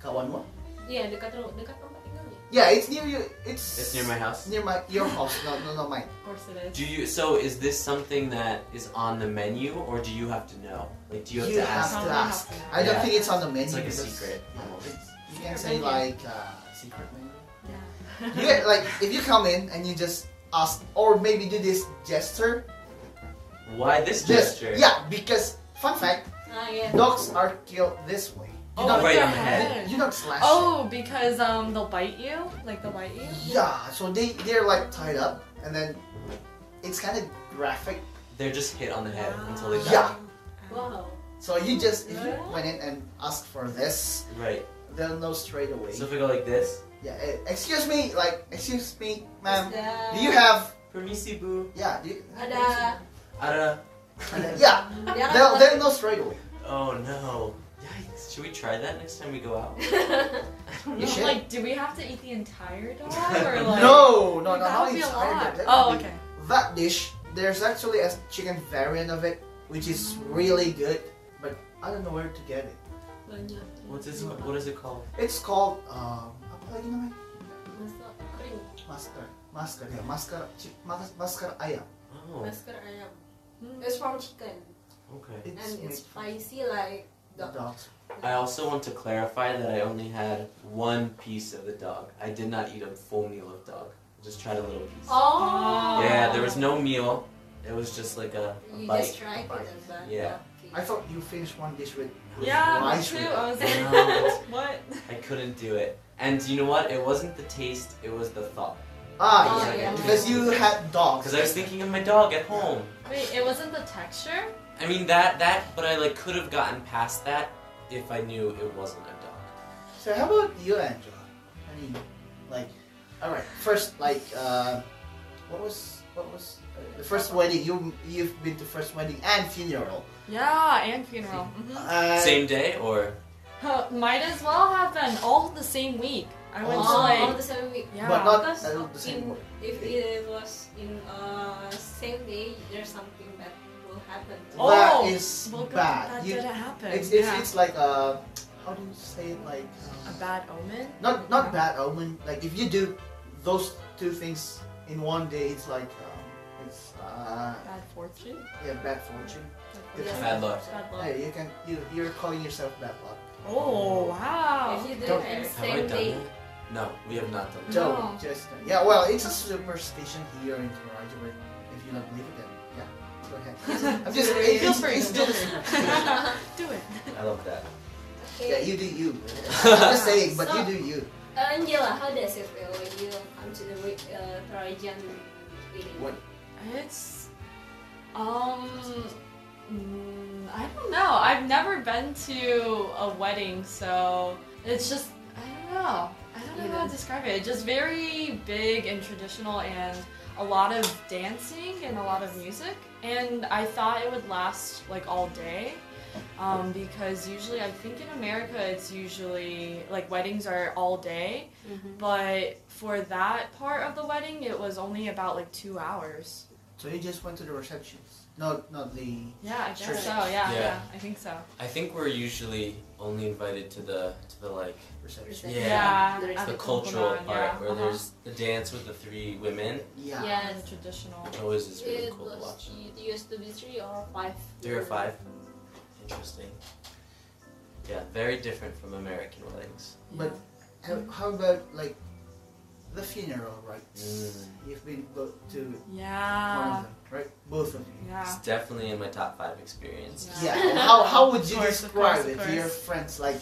[SPEAKER 2] Kawan mo.
[SPEAKER 5] Iya, dekat ru- dekat tempat ya? tinggalnya.
[SPEAKER 2] Yeah, it's near you. It's
[SPEAKER 3] It's near my house.
[SPEAKER 2] near my your house. No, no, no, mine.
[SPEAKER 4] Of course it is.
[SPEAKER 3] Do you? So is this something that is on the menu, or do you have to know? Like, do you have
[SPEAKER 2] You
[SPEAKER 3] to ask?
[SPEAKER 2] have
[SPEAKER 4] Someone
[SPEAKER 2] to ask.
[SPEAKER 4] has to
[SPEAKER 2] I don't
[SPEAKER 3] Yeah.
[SPEAKER 2] think it's on the menu.
[SPEAKER 3] It's like a
[SPEAKER 2] because-
[SPEAKER 3] secret.
[SPEAKER 2] Yeah, it's- you can
[SPEAKER 4] Secret
[SPEAKER 2] say
[SPEAKER 4] menu.
[SPEAKER 2] like uh, secret menu. You
[SPEAKER 4] Yeah.
[SPEAKER 2] get, like if you come in and you just ask, or maybe do this gesture.
[SPEAKER 3] Why this
[SPEAKER 2] Just-
[SPEAKER 3] gesture?
[SPEAKER 2] Yeah, because fun fact,
[SPEAKER 5] Ah, iya.
[SPEAKER 2] dogs are killed this way. You
[SPEAKER 4] Oh,
[SPEAKER 2] don't
[SPEAKER 3] right
[SPEAKER 4] the
[SPEAKER 3] on the head.
[SPEAKER 2] You don't slash.
[SPEAKER 4] Oh, because um, they'll bite you. Like they'll bite you.
[SPEAKER 2] Yeah, so they they're like tied up, and then it's kind of graphic.
[SPEAKER 3] They're just hit on the head until they die.
[SPEAKER 2] Yeah.
[SPEAKER 5] Wow.
[SPEAKER 2] So you just if you went in and asked for this,
[SPEAKER 3] Right.
[SPEAKER 2] they'll know straight away.
[SPEAKER 3] So if we go like this,
[SPEAKER 2] yeah. eh, Excuse me, like excuse me, ma'am.
[SPEAKER 5] Ada-
[SPEAKER 2] Do you have
[SPEAKER 3] permisi bu,
[SPEAKER 2] yeah? Do you,
[SPEAKER 5] ada
[SPEAKER 3] ada.
[SPEAKER 2] And then- yeah,
[SPEAKER 5] dia kan
[SPEAKER 2] they'll
[SPEAKER 5] kalau-
[SPEAKER 2] they'll know straight away.
[SPEAKER 3] Oh no. Yikes. Should we try that next time we go out? I don't
[SPEAKER 2] You
[SPEAKER 3] know.
[SPEAKER 2] should.
[SPEAKER 4] Like, do we have to eat the entire dog or like?
[SPEAKER 2] no, no, no,
[SPEAKER 4] that would
[SPEAKER 2] not
[SPEAKER 4] be a
[SPEAKER 2] entire,
[SPEAKER 4] lot.
[SPEAKER 2] but that
[SPEAKER 4] Oh,
[SPEAKER 2] would be-
[SPEAKER 4] okay.
[SPEAKER 2] That dish, there's actually a chicken variant of it, which is really good, but I don't know where to get it.
[SPEAKER 5] banyak.
[SPEAKER 3] What's this? What is it called?
[SPEAKER 2] It's called um, apa lagi namanya?
[SPEAKER 5] Masak kering,
[SPEAKER 2] Masker, masker ya, masker, chi- mas- masker ayam.
[SPEAKER 3] Oh.
[SPEAKER 5] masker ayam.
[SPEAKER 4] Mm.
[SPEAKER 5] It's from chicken
[SPEAKER 3] Okay.
[SPEAKER 2] It's
[SPEAKER 5] and
[SPEAKER 2] made
[SPEAKER 5] it's spicy like
[SPEAKER 2] from
[SPEAKER 5] dog.
[SPEAKER 2] dogs.
[SPEAKER 3] I also want to clarify that I only had one piece of the dog. I did not eat a full meal of dog. I just tried a little piece.
[SPEAKER 5] Oh.
[SPEAKER 3] Yeah, there was no meal. It was just like a, a
[SPEAKER 5] You
[SPEAKER 3] bite.
[SPEAKER 5] just try it
[SPEAKER 2] Bite.
[SPEAKER 5] and then
[SPEAKER 3] Yeah.
[SPEAKER 5] okay.
[SPEAKER 2] I thought you finished one dish with with
[SPEAKER 6] Yeah, me
[SPEAKER 2] rice
[SPEAKER 6] too.
[SPEAKER 2] with
[SPEAKER 6] I was like,
[SPEAKER 3] No,
[SPEAKER 6] what?
[SPEAKER 3] I couldn't do it. And you know what? It wasn't the taste, it was the thought.
[SPEAKER 2] Ah,
[SPEAKER 4] Oh,
[SPEAKER 2] yes.
[SPEAKER 4] yeah.
[SPEAKER 2] because you had dogs.
[SPEAKER 3] Because I was thinking of my dog at home.
[SPEAKER 4] Wait, it wasn't the texture?
[SPEAKER 3] I mean that that, but I like could have gotten past that if I knew it wasn't a dog.
[SPEAKER 2] So how about you, Angela? I mean, like, all right. First, like, uh, what was what was uh, the first wedding? You you've been to first wedding and funeral.
[SPEAKER 4] Yeah, and funeral. Mhm.
[SPEAKER 2] Uh,
[SPEAKER 3] Same day or
[SPEAKER 4] Huh, Might as well have been all the same week. I went to
[SPEAKER 5] Oh,
[SPEAKER 4] like.
[SPEAKER 5] all the same week.
[SPEAKER 4] yeah.
[SPEAKER 2] but not
[SPEAKER 5] Because
[SPEAKER 2] uh, the same.
[SPEAKER 5] in-
[SPEAKER 2] word.
[SPEAKER 5] If it was in uh, same day, there's something that will happen.
[SPEAKER 4] Oh,
[SPEAKER 2] that is
[SPEAKER 4] well, good,
[SPEAKER 2] bad.
[SPEAKER 4] That
[SPEAKER 2] You-
[SPEAKER 4] didn't happen.
[SPEAKER 2] it's it's,
[SPEAKER 4] yeah.
[SPEAKER 2] it's like uh, how do you say it? Like,
[SPEAKER 4] a
[SPEAKER 2] uh,
[SPEAKER 4] bad omen.
[SPEAKER 2] not not bad omen. Like if you do those two things in one day, it's like um, it's uh,
[SPEAKER 4] Bad fortune.
[SPEAKER 2] yeah bad fortune.
[SPEAKER 4] Like,
[SPEAKER 2] Good
[SPEAKER 4] yeah.
[SPEAKER 3] bad luck?
[SPEAKER 5] Bad luck.
[SPEAKER 2] Hey, you can you you're calling yourself bad luck.
[SPEAKER 4] Oh wow.
[SPEAKER 5] If you do
[SPEAKER 2] Don't-
[SPEAKER 5] it in
[SPEAKER 3] Have I
[SPEAKER 5] same
[SPEAKER 3] done
[SPEAKER 5] day,
[SPEAKER 3] that? No, we have not done that.
[SPEAKER 2] Don't
[SPEAKER 4] No.
[SPEAKER 2] just uh, yeah. Well, it's a superstition here in Toronto. but If you don't believe it, then yeah, go ahead. I'm just it,
[SPEAKER 4] Feel
[SPEAKER 2] it's,
[SPEAKER 4] free.
[SPEAKER 2] it's still a superstition.
[SPEAKER 4] Do it.
[SPEAKER 3] I love that.
[SPEAKER 2] yeah,
[SPEAKER 5] okay.
[SPEAKER 2] you do you. I'm just saying, but
[SPEAKER 5] So-
[SPEAKER 2] you do you.
[SPEAKER 5] Angela, Uh, how does it feel when you come to the wi- uh, Trojan wedding?
[SPEAKER 2] What?
[SPEAKER 4] It's um mm, I don't know. I've never been to a wedding, so it's just I don't know. I don't know how to describe it. It's just very big and traditional and a lot of dancing and a lot of music. And I thought it would last like all day. Um, because usually, I think in America, it's usually like weddings are all day,
[SPEAKER 5] Mm-hmm.
[SPEAKER 4] but for that part of the wedding, it was only about like two hours.
[SPEAKER 2] So you just went to the receptions? No, not the.
[SPEAKER 4] Yeah, I guess
[SPEAKER 2] Sure.
[SPEAKER 4] so. Yeah,
[SPEAKER 3] Yeah.
[SPEAKER 4] yeah, I think so.
[SPEAKER 3] I think we're usually only invited to the to the like
[SPEAKER 2] Reception.
[SPEAKER 3] Yeah.
[SPEAKER 4] at
[SPEAKER 5] There's
[SPEAKER 3] the
[SPEAKER 4] Kumbalan,
[SPEAKER 3] cultural part
[SPEAKER 4] yeah.
[SPEAKER 3] where
[SPEAKER 4] Uh-huh.
[SPEAKER 3] there's the dance with the three women.
[SPEAKER 2] Yeah.
[SPEAKER 4] yeah, the traditional.
[SPEAKER 3] It always is really
[SPEAKER 5] It
[SPEAKER 3] cool to watch.
[SPEAKER 5] was it used to be three or five.
[SPEAKER 3] Three or five. Interesting. Yeah, very different from American weddings.
[SPEAKER 2] But How, how about like the funeral rites?
[SPEAKER 3] Mm.
[SPEAKER 2] You've been both to one
[SPEAKER 4] yeah,
[SPEAKER 2] of them, right? Both of you.
[SPEAKER 4] Uh, yeah.
[SPEAKER 3] It's definitely in my top five experiences.
[SPEAKER 2] Yeah.
[SPEAKER 4] Yeah.
[SPEAKER 2] How, how would
[SPEAKER 4] Of
[SPEAKER 2] you
[SPEAKER 4] course, of
[SPEAKER 2] describe
[SPEAKER 4] course, of
[SPEAKER 2] it to your
[SPEAKER 4] course.
[SPEAKER 2] friends? Like,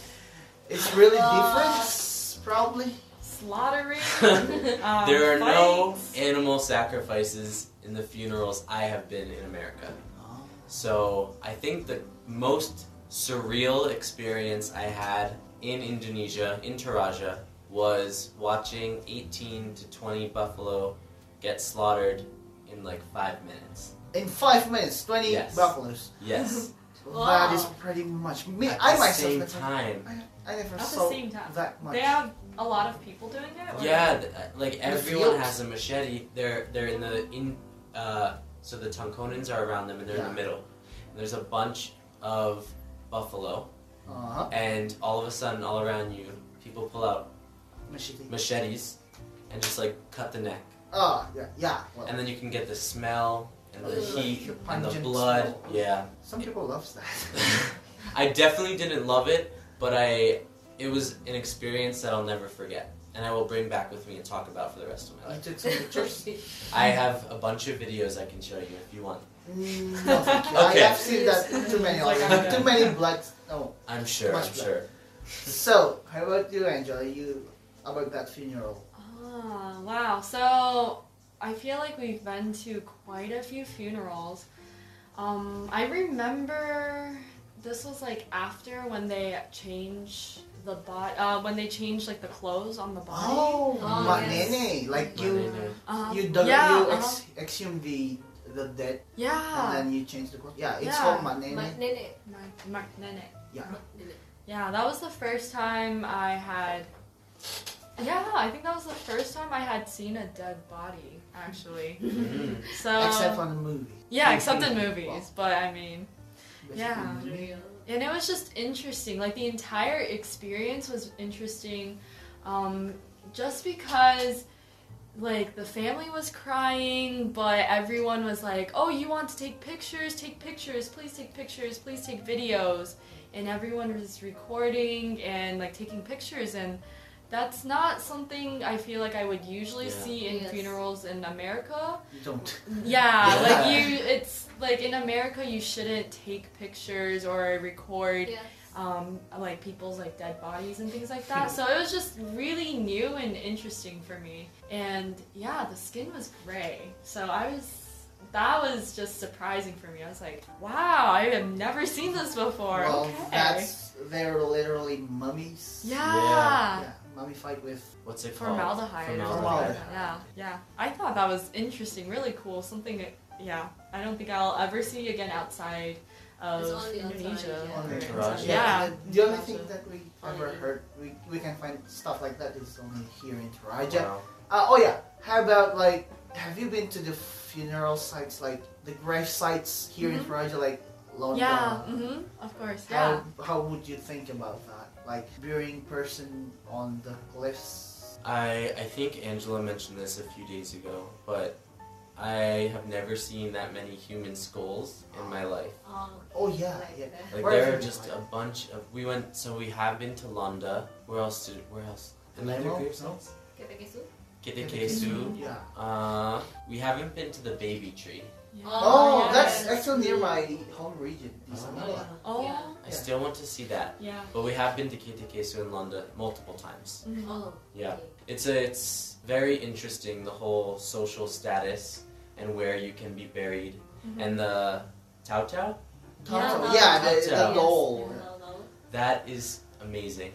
[SPEAKER 2] it's really
[SPEAKER 5] Uh,
[SPEAKER 2] different, probably.
[SPEAKER 4] Slaughtering. um,
[SPEAKER 3] there are no
[SPEAKER 4] fights.
[SPEAKER 3] animal sacrifices in the funerals I have been in America.
[SPEAKER 4] uh,
[SPEAKER 3] So I think the most surreal experience I had in Indonesia, in Toraja, was watching 18 to 20 buffalo get slaughtered in like five minutes.
[SPEAKER 2] In five minutes, twenty
[SPEAKER 3] Yes.
[SPEAKER 2] buffaloes.
[SPEAKER 3] Yes,
[SPEAKER 5] Wow.
[SPEAKER 2] That is pretty much. Me,
[SPEAKER 3] at
[SPEAKER 2] I
[SPEAKER 3] the
[SPEAKER 2] myself.
[SPEAKER 3] same
[SPEAKER 2] never-
[SPEAKER 3] time.
[SPEAKER 2] I, I never
[SPEAKER 4] At the
[SPEAKER 2] saw
[SPEAKER 4] same time,
[SPEAKER 2] that much.
[SPEAKER 4] they have a lot of people doing it. or-
[SPEAKER 3] Yeah, th- uh, like everyone
[SPEAKER 2] fields.
[SPEAKER 3] has a machete. They're they're in the in uh, so the Tonkonans are around them and they're
[SPEAKER 2] Yeah.
[SPEAKER 3] in the middle. And there's a bunch of buffalo,
[SPEAKER 2] Uh-huh.
[SPEAKER 3] and all of a sudden, all around you, people pull out
[SPEAKER 2] Machete.
[SPEAKER 3] machetes and just like cut the neck,
[SPEAKER 2] Oh, yeah, yeah. Well,
[SPEAKER 3] and then you can get the smell and the
[SPEAKER 2] Ugh.
[SPEAKER 3] heat
[SPEAKER 2] The
[SPEAKER 3] and the
[SPEAKER 2] pungent
[SPEAKER 3] blood.
[SPEAKER 2] smell.
[SPEAKER 3] Yeah,
[SPEAKER 2] some people loves that.
[SPEAKER 3] I definitely didn't love it, but I it was an experience that I'll never forget, and I will bring back with me and talk about for the rest of my life.
[SPEAKER 2] you took some pictures.
[SPEAKER 3] I have a bunch of videos I can show you if you want.
[SPEAKER 2] Mm, no, thank you. I
[SPEAKER 3] Okay.
[SPEAKER 2] have seen that too many
[SPEAKER 4] Like,
[SPEAKER 2] already.
[SPEAKER 4] I'm
[SPEAKER 2] too
[SPEAKER 4] good.
[SPEAKER 2] many blood. No.
[SPEAKER 3] I'm sure.
[SPEAKER 2] Much
[SPEAKER 3] I'm
[SPEAKER 2] better.
[SPEAKER 3] sure.
[SPEAKER 2] So, how about you, Angela? You about that funeral?
[SPEAKER 4] Ah, wow. So I feel like we've been to quite a few funerals. Um, I remember this was like after when they changed the body, uh, when they changed like the clothes on the body.
[SPEAKER 5] Oh,
[SPEAKER 2] manene. Like you,
[SPEAKER 4] Um,
[SPEAKER 2] you dug,
[SPEAKER 4] yeah,
[SPEAKER 2] you
[SPEAKER 4] uh-huh.
[SPEAKER 2] ex- exhumed the the dead, and
[SPEAKER 4] yeah.
[SPEAKER 2] then you changed the clothes. Yeah,
[SPEAKER 4] Ah.
[SPEAKER 2] it's
[SPEAKER 4] Yeah.
[SPEAKER 2] called manene.
[SPEAKER 5] But then it,
[SPEAKER 4] Mag- magnetic.
[SPEAKER 2] yeah.
[SPEAKER 4] Yeah, that was the first time I had. Yeah, I think that was the first time I had seen a dead body actually.
[SPEAKER 2] Mm-hmm.
[SPEAKER 3] Mm.
[SPEAKER 4] So
[SPEAKER 2] Except on the movie.
[SPEAKER 4] um, yeah, except in movies, but I mean. Yeah.
[SPEAKER 2] Basically.
[SPEAKER 4] And it was just interesting. Like the entire experience was interesting, um, just because like the family was crying, but everyone was like, "Oh, you want to take pictures? Take pictures! Please take pictures! Please take videos!" And everyone was recording and like taking pictures, and That's not something I feel like I would usually
[SPEAKER 3] Yeah.
[SPEAKER 4] see in
[SPEAKER 1] Yes.
[SPEAKER 4] funerals in America.
[SPEAKER 2] You don't.
[SPEAKER 4] Yeah,
[SPEAKER 2] Yeah.
[SPEAKER 4] like you, it's like in America you shouldn't take pictures or record
[SPEAKER 1] Yes.
[SPEAKER 4] um, like people's like dead bodies and things like
[SPEAKER 2] Hmm.
[SPEAKER 4] that. so it was just really new and interesting for me. And yeah, the skin was gray. So I was that was just surprising for me. I was like, wow, I have never seen this before.
[SPEAKER 2] well,
[SPEAKER 4] okay.
[SPEAKER 2] that's they're literally mummies.
[SPEAKER 4] yeah.
[SPEAKER 2] Yeah, mummified with
[SPEAKER 3] What's it called?
[SPEAKER 4] Formaldehyde or something.
[SPEAKER 2] Formaldehyde.
[SPEAKER 4] Yeah, yeah. I thought that was interesting, really cool. Something, that- yeah. I don't think I'll ever see again outside
[SPEAKER 1] It's
[SPEAKER 4] of
[SPEAKER 1] on the outside,
[SPEAKER 4] Indonesia.
[SPEAKER 1] yeah.
[SPEAKER 2] on
[SPEAKER 4] or
[SPEAKER 2] the
[SPEAKER 3] Russia.
[SPEAKER 4] inside.
[SPEAKER 2] Yeah.
[SPEAKER 4] Yeah.
[SPEAKER 2] The only
[SPEAKER 4] Russia.
[SPEAKER 2] thing that we ever
[SPEAKER 1] Finding.
[SPEAKER 2] heard we, we can find stuff like that is only here in Toraja.
[SPEAKER 3] Wow.
[SPEAKER 2] Uh, oh yeah. How about like have you been to the funeral sites like the grave sites here in
[SPEAKER 4] Mhm.
[SPEAKER 2] Toraja like London?
[SPEAKER 4] Yeah. hmm Of course. Yeah.
[SPEAKER 2] How how would you think about that? Like burying person on the cliffs.
[SPEAKER 3] I I think Angela mentioned this a few days ago, but I have never seen that many human skulls in my life.
[SPEAKER 5] Um,
[SPEAKER 1] Oh,
[SPEAKER 2] Oh yeah,
[SPEAKER 1] like
[SPEAKER 2] yeah.
[SPEAKER 1] that.
[SPEAKER 3] Like
[SPEAKER 2] Where have
[SPEAKER 3] there are
[SPEAKER 2] you
[SPEAKER 3] just
[SPEAKER 2] been?
[SPEAKER 3] a bunch of. We went. So we have been to Londa. Where else did? Where else? Another
[SPEAKER 2] Palermo?
[SPEAKER 3] grave
[SPEAKER 2] No?
[SPEAKER 3] sites?
[SPEAKER 1] Ketekesu?
[SPEAKER 3] Kitakesu.
[SPEAKER 2] Yeah.
[SPEAKER 3] Uh, we haven't been to the baby tree.
[SPEAKER 4] Yeah.
[SPEAKER 2] Oh,
[SPEAKER 1] yeah,
[SPEAKER 2] that's
[SPEAKER 1] yeah.
[SPEAKER 2] actually near my home region, Isamala.
[SPEAKER 4] Oh.
[SPEAKER 1] Yeah.
[SPEAKER 3] I
[SPEAKER 2] Yeah.
[SPEAKER 3] still want to see that.
[SPEAKER 4] Yeah.
[SPEAKER 3] But we have been to Kitakesu in Londa multiple times.
[SPEAKER 4] Mhm.
[SPEAKER 1] Oh,
[SPEAKER 3] Yeah.
[SPEAKER 1] okay.
[SPEAKER 3] It's a, it's very interesting the whole social status and where you can be buried
[SPEAKER 4] Mhm.
[SPEAKER 3] and the Tao Tao.
[SPEAKER 2] Toto,
[SPEAKER 1] Toto.
[SPEAKER 2] yeah, the, the
[SPEAKER 3] Toto.
[SPEAKER 2] doll.
[SPEAKER 1] Yes, the doll.
[SPEAKER 3] That is amazing.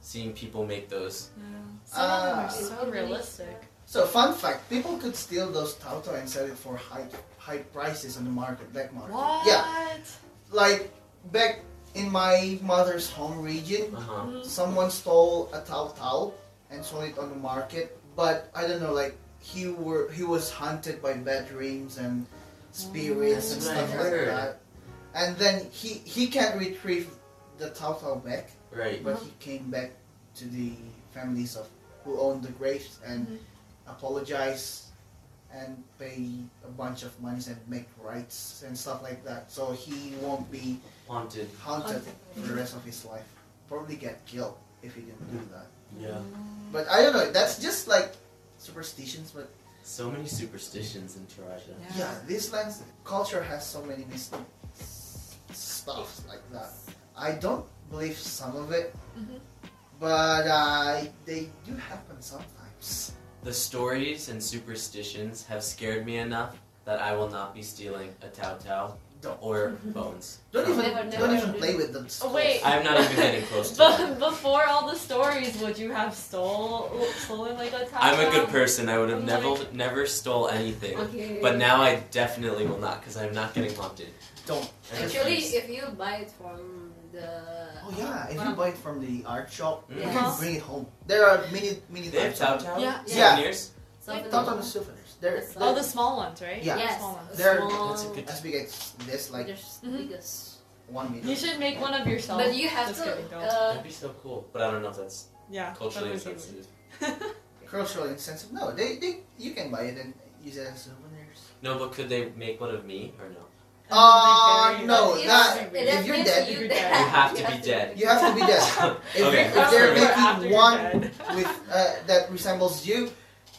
[SPEAKER 3] Seeing people make those.
[SPEAKER 4] Yeah. Some of them
[SPEAKER 2] Uh,
[SPEAKER 4] are so realistic.
[SPEAKER 2] So fun fact, people could steal those Tauto and sell it for high high prices on the market, black market.
[SPEAKER 4] What?
[SPEAKER 2] Yeah, like back in my mother's home region,
[SPEAKER 3] Uh huh.
[SPEAKER 4] Mm-hmm.
[SPEAKER 2] someone stole a Tautau and sold it on the market, but I don't know, like he were he was hunted by bad dreams and spirits and
[SPEAKER 3] That's what Mm, I
[SPEAKER 2] stuff like
[SPEAKER 3] heard.
[SPEAKER 2] that. And then he he can't retrieve the Tautau back.
[SPEAKER 3] Right.
[SPEAKER 2] but he came back to the families of who owned the graves and
[SPEAKER 4] Mhm.
[SPEAKER 3] Mm-hmm.
[SPEAKER 2] apologized and pay a bunch of monies and make rights and stuff like that. So he won't be
[SPEAKER 3] Haunted.
[SPEAKER 2] haunted for the rest of his life. Probably get killed if he didn't do that.
[SPEAKER 3] Yeah.
[SPEAKER 2] But I don't know. That's just like superstitions. But
[SPEAKER 3] So many superstitions in Taraja.
[SPEAKER 4] Yeah.
[SPEAKER 2] yeah, this land's culture has so many mystic s- stuff like that. I don't believe some of it,
[SPEAKER 1] Mm-hmm.
[SPEAKER 4] Mhm.
[SPEAKER 2] but uh, they do happen sometimes.
[SPEAKER 3] The stories and superstitions have scared me enough that I will not be stealing a Tao Tao
[SPEAKER 2] Don't
[SPEAKER 3] or bones.
[SPEAKER 2] don't even
[SPEAKER 1] Never, never
[SPEAKER 2] don't even
[SPEAKER 1] do.
[SPEAKER 2] play with them.
[SPEAKER 4] Oh, wait.
[SPEAKER 3] I'm not even getting close to
[SPEAKER 4] But
[SPEAKER 3] that.
[SPEAKER 4] before all the stories, would you have stole stolen like a Tao
[SPEAKER 3] I'm a good
[SPEAKER 4] Tao?
[SPEAKER 3] person. I would have
[SPEAKER 4] I'm
[SPEAKER 3] never never stole anything.
[SPEAKER 1] Okay.
[SPEAKER 3] But now I definitely will not because I'm not getting haunted.
[SPEAKER 2] Don't.
[SPEAKER 1] Uh,
[SPEAKER 3] I
[SPEAKER 1] Actually,
[SPEAKER 3] refuse.
[SPEAKER 1] if you buy it from the
[SPEAKER 2] Oh yeah, if you buy it from the art shop, you can
[SPEAKER 1] Yes.
[SPEAKER 2] bring it home. There are many many
[SPEAKER 3] Mm. they have
[SPEAKER 2] types
[SPEAKER 3] Tao
[SPEAKER 2] of
[SPEAKER 3] Tao
[SPEAKER 4] Yeah.
[SPEAKER 2] Yeah.
[SPEAKER 3] souvenirs.
[SPEAKER 1] Something
[SPEAKER 2] Tao Tao
[SPEAKER 1] like-
[SPEAKER 2] is souvenirs. They're
[SPEAKER 1] It's
[SPEAKER 4] Oh, the small ones, right?
[SPEAKER 2] Yeah.
[SPEAKER 4] The
[SPEAKER 1] Yes.
[SPEAKER 4] small ones.
[SPEAKER 2] They're-
[SPEAKER 1] small-
[SPEAKER 3] That's a good-
[SPEAKER 2] as big as this, like
[SPEAKER 1] There's
[SPEAKER 4] Mhm.
[SPEAKER 1] biggest.
[SPEAKER 2] one meter.
[SPEAKER 4] You should make one of yourself.
[SPEAKER 1] But you have
[SPEAKER 4] Just
[SPEAKER 1] to.
[SPEAKER 4] kidding, don't.
[SPEAKER 1] Uh,
[SPEAKER 3] That'd be so cool. But I don't know if that's
[SPEAKER 4] yeah. that
[SPEAKER 3] culturally
[SPEAKER 4] would be
[SPEAKER 3] insensitive.
[SPEAKER 2] Cultural insensitive. No, they, they you can buy it and use it as souvenirs.
[SPEAKER 3] No, but could they make one of me or no?
[SPEAKER 4] And then they bury
[SPEAKER 2] Uh,
[SPEAKER 4] you.
[SPEAKER 2] no,
[SPEAKER 1] it's-
[SPEAKER 2] that-
[SPEAKER 1] it
[SPEAKER 2] if
[SPEAKER 1] has
[SPEAKER 2] you're
[SPEAKER 1] gives
[SPEAKER 2] dead-
[SPEAKER 1] you
[SPEAKER 4] You
[SPEAKER 1] that.
[SPEAKER 3] have to be dead.
[SPEAKER 2] You have to be dead.
[SPEAKER 4] Oh,
[SPEAKER 2] If,
[SPEAKER 3] Okay.
[SPEAKER 2] if they're
[SPEAKER 3] After
[SPEAKER 2] making
[SPEAKER 4] you're
[SPEAKER 2] one
[SPEAKER 4] dead.
[SPEAKER 2] with uh, that resembles you,
[SPEAKER 1] It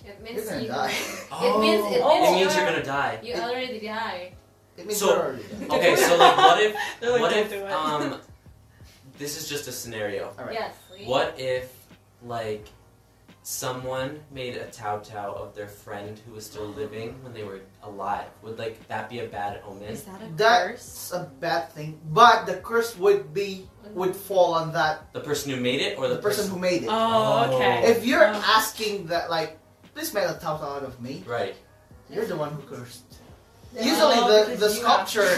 [SPEAKER 2] you're
[SPEAKER 1] means
[SPEAKER 2] gonna
[SPEAKER 1] you.
[SPEAKER 2] die.
[SPEAKER 1] It means it means,
[SPEAKER 4] Oh.
[SPEAKER 3] It means
[SPEAKER 1] you're,
[SPEAKER 3] you're gonna die.
[SPEAKER 1] you already die.
[SPEAKER 2] It means
[SPEAKER 3] So-
[SPEAKER 2] you're already dead.
[SPEAKER 3] Okay, so like, what if
[SPEAKER 4] They're like,
[SPEAKER 3] what
[SPEAKER 4] "Don't
[SPEAKER 3] if
[SPEAKER 4] do it."
[SPEAKER 3] um, this is just a scenario.
[SPEAKER 2] All right.
[SPEAKER 1] Yes. we-
[SPEAKER 3] What if like someone made a tau tau of their friend who was still living when they were alive? Would like that be a bad omen?
[SPEAKER 4] Is that a curse?
[SPEAKER 2] That's a bad thing. But the curse would be would fall on that
[SPEAKER 3] The person who made it or the,
[SPEAKER 2] the person who made it.
[SPEAKER 4] Oh, okay.
[SPEAKER 2] If you're
[SPEAKER 4] Oh.
[SPEAKER 2] asking that, like, please make a top out of me.
[SPEAKER 3] Right.
[SPEAKER 2] You're the one who cursed.
[SPEAKER 1] Yeah.
[SPEAKER 2] Usually
[SPEAKER 4] Oh,
[SPEAKER 2] the,
[SPEAKER 4] because
[SPEAKER 2] the
[SPEAKER 4] you have-
[SPEAKER 2] sculpture,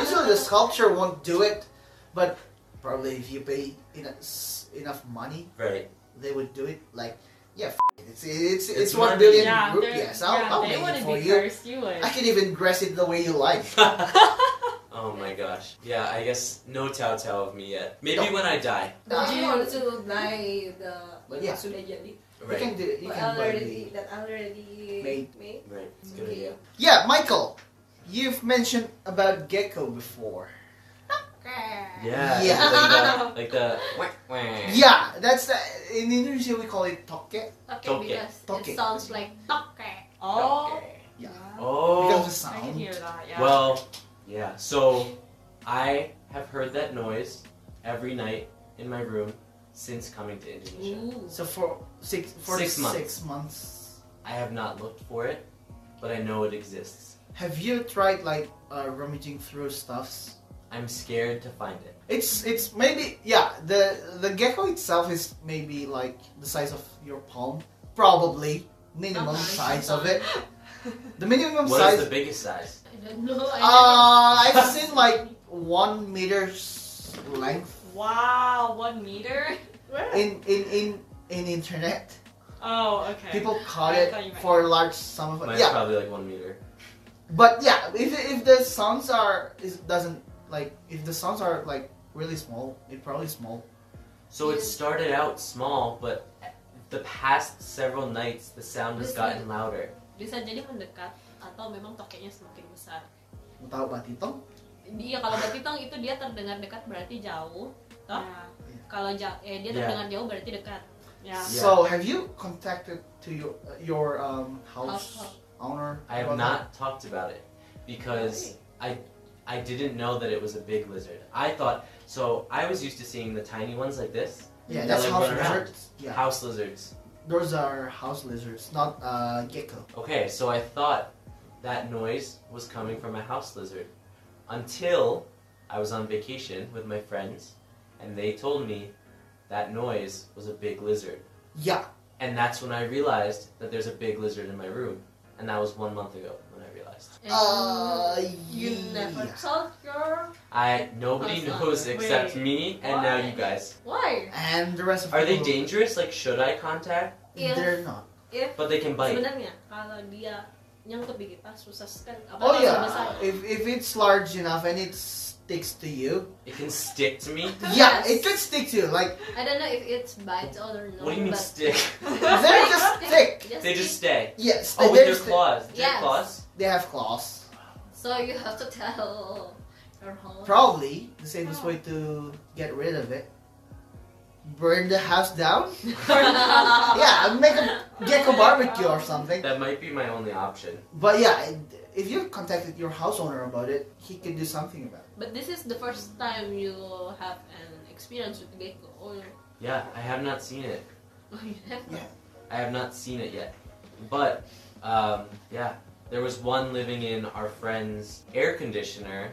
[SPEAKER 2] usually the sculpture won't do it, but probably if you pay ena- s- enough money,
[SPEAKER 3] Right.
[SPEAKER 2] they would do it. Like, yeah, f- it. it's it's it's,
[SPEAKER 3] It's
[SPEAKER 2] one
[SPEAKER 3] money.
[SPEAKER 2] billion
[SPEAKER 4] yeah, they're-
[SPEAKER 2] rupees. I'll,
[SPEAKER 4] yeah,
[SPEAKER 2] I'll
[SPEAKER 4] they
[SPEAKER 2] make it
[SPEAKER 4] wouldn't
[SPEAKER 2] for
[SPEAKER 4] be
[SPEAKER 2] you.
[SPEAKER 4] cursed. You would.
[SPEAKER 2] I can even dress it the way you like.
[SPEAKER 3] oh my gosh. Yeah, I guess no tau tau of me yet. Maybe
[SPEAKER 2] No.
[SPEAKER 3] when I die.
[SPEAKER 1] But you
[SPEAKER 4] Ah.
[SPEAKER 1] want to buy the
[SPEAKER 2] But yeah.
[SPEAKER 1] sudah jadi.
[SPEAKER 2] You
[SPEAKER 3] Right.
[SPEAKER 2] can do it. You
[SPEAKER 1] But
[SPEAKER 2] can buy
[SPEAKER 1] already
[SPEAKER 2] the...
[SPEAKER 1] that already
[SPEAKER 2] Made.
[SPEAKER 1] made.
[SPEAKER 3] Right. It's a good idea.
[SPEAKER 2] Yeah, Michael, you've mentioned about gecko before.
[SPEAKER 3] Yeah.
[SPEAKER 2] Yeah.
[SPEAKER 3] Like the, like the
[SPEAKER 2] Yeah, that's the, in Indonesia we call it toke.
[SPEAKER 5] Okay,
[SPEAKER 3] Toke.
[SPEAKER 5] because
[SPEAKER 2] Toke.
[SPEAKER 5] it sounds like toke.
[SPEAKER 4] Oh.
[SPEAKER 2] Yeah. Because
[SPEAKER 3] Oh.
[SPEAKER 2] the
[SPEAKER 4] I can
[SPEAKER 2] sound.
[SPEAKER 4] hear that. Yeah.
[SPEAKER 3] Well, yeah. So I have heard that noise every night in my room since coming to Indonesia.
[SPEAKER 5] Ooh.
[SPEAKER 2] So for six for
[SPEAKER 3] Six months.
[SPEAKER 2] six months.
[SPEAKER 3] I have not looked for it, but I know it exists.
[SPEAKER 2] Have you tried like uh, rummaging through stuffs?
[SPEAKER 3] I'm scared to find it.
[SPEAKER 2] It's it's maybe yeah the the gecko itself is maybe like the size of your palm probably minimum
[SPEAKER 5] Okay.
[SPEAKER 2] size of it the minimum
[SPEAKER 3] What is
[SPEAKER 2] size
[SPEAKER 3] the biggest size?
[SPEAKER 5] I don't know. I
[SPEAKER 2] uh I've seen like one meter's length
[SPEAKER 4] wow, one meter.
[SPEAKER 2] in in in in internet
[SPEAKER 4] Oh, okay.
[SPEAKER 2] people caught
[SPEAKER 4] I
[SPEAKER 2] it
[SPEAKER 4] thought you meant-
[SPEAKER 2] for large sum of
[SPEAKER 3] Mine's
[SPEAKER 2] yeah
[SPEAKER 3] probably like one meter.
[SPEAKER 2] But yeah, if, if the sounds are is doesn't like if the sounds are like really small, it probably small.
[SPEAKER 3] So it started out small, but the past several nights the sound has
[SPEAKER 5] Listen.
[SPEAKER 3] gotten louder.
[SPEAKER 5] Bisa jadi mendekat atau memang tokenya semakin besar.
[SPEAKER 2] Mau tahu Mbak Titong?
[SPEAKER 5] Iya kalau batitong itu dia terdengar dekat berarti jauh.
[SPEAKER 4] Yeah.
[SPEAKER 5] Iya. Kalau ja- eh, dia
[SPEAKER 3] Yeah.
[SPEAKER 5] terdengar jauh berarti dekat.
[SPEAKER 4] Yeah.
[SPEAKER 2] So have you contacted to your your um, house
[SPEAKER 5] House-
[SPEAKER 2] owner?
[SPEAKER 3] I have
[SPEAKER 2] about
[SPEAKER 3] not talked about it because I I didn't know that it was a big lizard. I thought so. I was used to seeing the tiny ones like this,
[SPEAKER 2] that? Yeah,
[SPEAKER 3] They
[SPEAKER 2] that's
[SPEAKER 3] like
[SPEAKER 2] house
[SPEAKER 3] run around.
[SPEAKER 2] lizards. Yeah,
[SPEAKER 3] house lizards.
[SPEAKER 2] those are house lizards, not uh, gecko.
[SPEAKER 3] Okay, so I thought that noise was coming from a house lizard until I was on vacation with my friends and they told me that noise was a big lizard.
[SPEAKER 2] Yeah,
[SPEAKER 3] And that's when I realized that there's a big lizard in my room. And that was one month ago when I realized.
[SPEAKER 5] And
[SPEAKER 3] Oh,
[SPEAKER 2] uh,
[SPEAKER 5] Eh, you
[SPEAKER 3] iya.
[SPEAKER 5] never
[SPEAKER 2] yeah.
[SPEAKER 5] told your
[SPEAKER 3] I nobody
[SPEAKER 5] That's not
[SPEAKER 3] knows
[SPEAKER 5] good.
[SPEAKER 3] except
[SPEAKER 4] Wait,
[SPEAKER 3] me and now you
[SPEAKER 5] why?
[SPEAKER 3] guys.
[SPEAKER 5] why?
[SPEAKER 2] And the rest of
[SPEAKER 3] Are they
[SPEAKER 2] people-
[SPEAKER 3] dangerous? Like should I contact?
[SPEAKER 5] If
[SPEAKER 2] They're not.
[SPEAKER 3] But they can bite.
[SPEAKER 5] sebenarnya kalau dia nyangkut di kita susah sekali. Apa
[SPEAKER 2] Oh
[SPEAKER 5] kalau
[SPEAKER 3] iya.
[SPEAKER 5] besar?
[SPEAKER 2] yeah,
[SPEAKER 3] Eh,
[SPEAKER 2] if if it's large enough and it sticks to you,
[SPEAKER 3] It can stick to me.
[SPEAKER 2] yeah,
[SPEAKER 5] Yes.
[SPEAKER 2] it could stick to you. Like
[SPEAKER 5] I don't know if it's bites or not.
[SPEAKER 3] What do you mean
[SPEAKER 5] but-
[SPEAKER 3] stick?
[SPEAKER 2] they're just thick.
[SPEAKER 3] They just stay.
[SPEAKER 2] Yes,
[SPEAKER 3] Oh, with
[SPEAKER 2] they're
[SPEAKER 3] their
[SPEAKER 2] sti-
[SPEAKER 3] claws. Their
[SPEAKER 5] Yes.
[SPEAKER 3] claws.
[SPEAKER 2] They have claws.
[SPEAKER 5] So you have to tell your whole.
[SPEAKER 2] Probably the safest way to get rid of it. Burn the house down? Yeah, make a gecko barbecue or something.
[SPEAKER 3] That might be my only option.
[SPEAKER 2] But yeah, if you contacted your house owner about it, he could do something about
[SPEAKER 5] But this is the first time you have an experience with gecko. Oh,
[SPEAKER 3] Yeah, I have not seen it.
[SPEAKER 5] you have
[SPEAKER 3] I have not seen it yet. But um, yeah, there was one living in our friend's air conditioner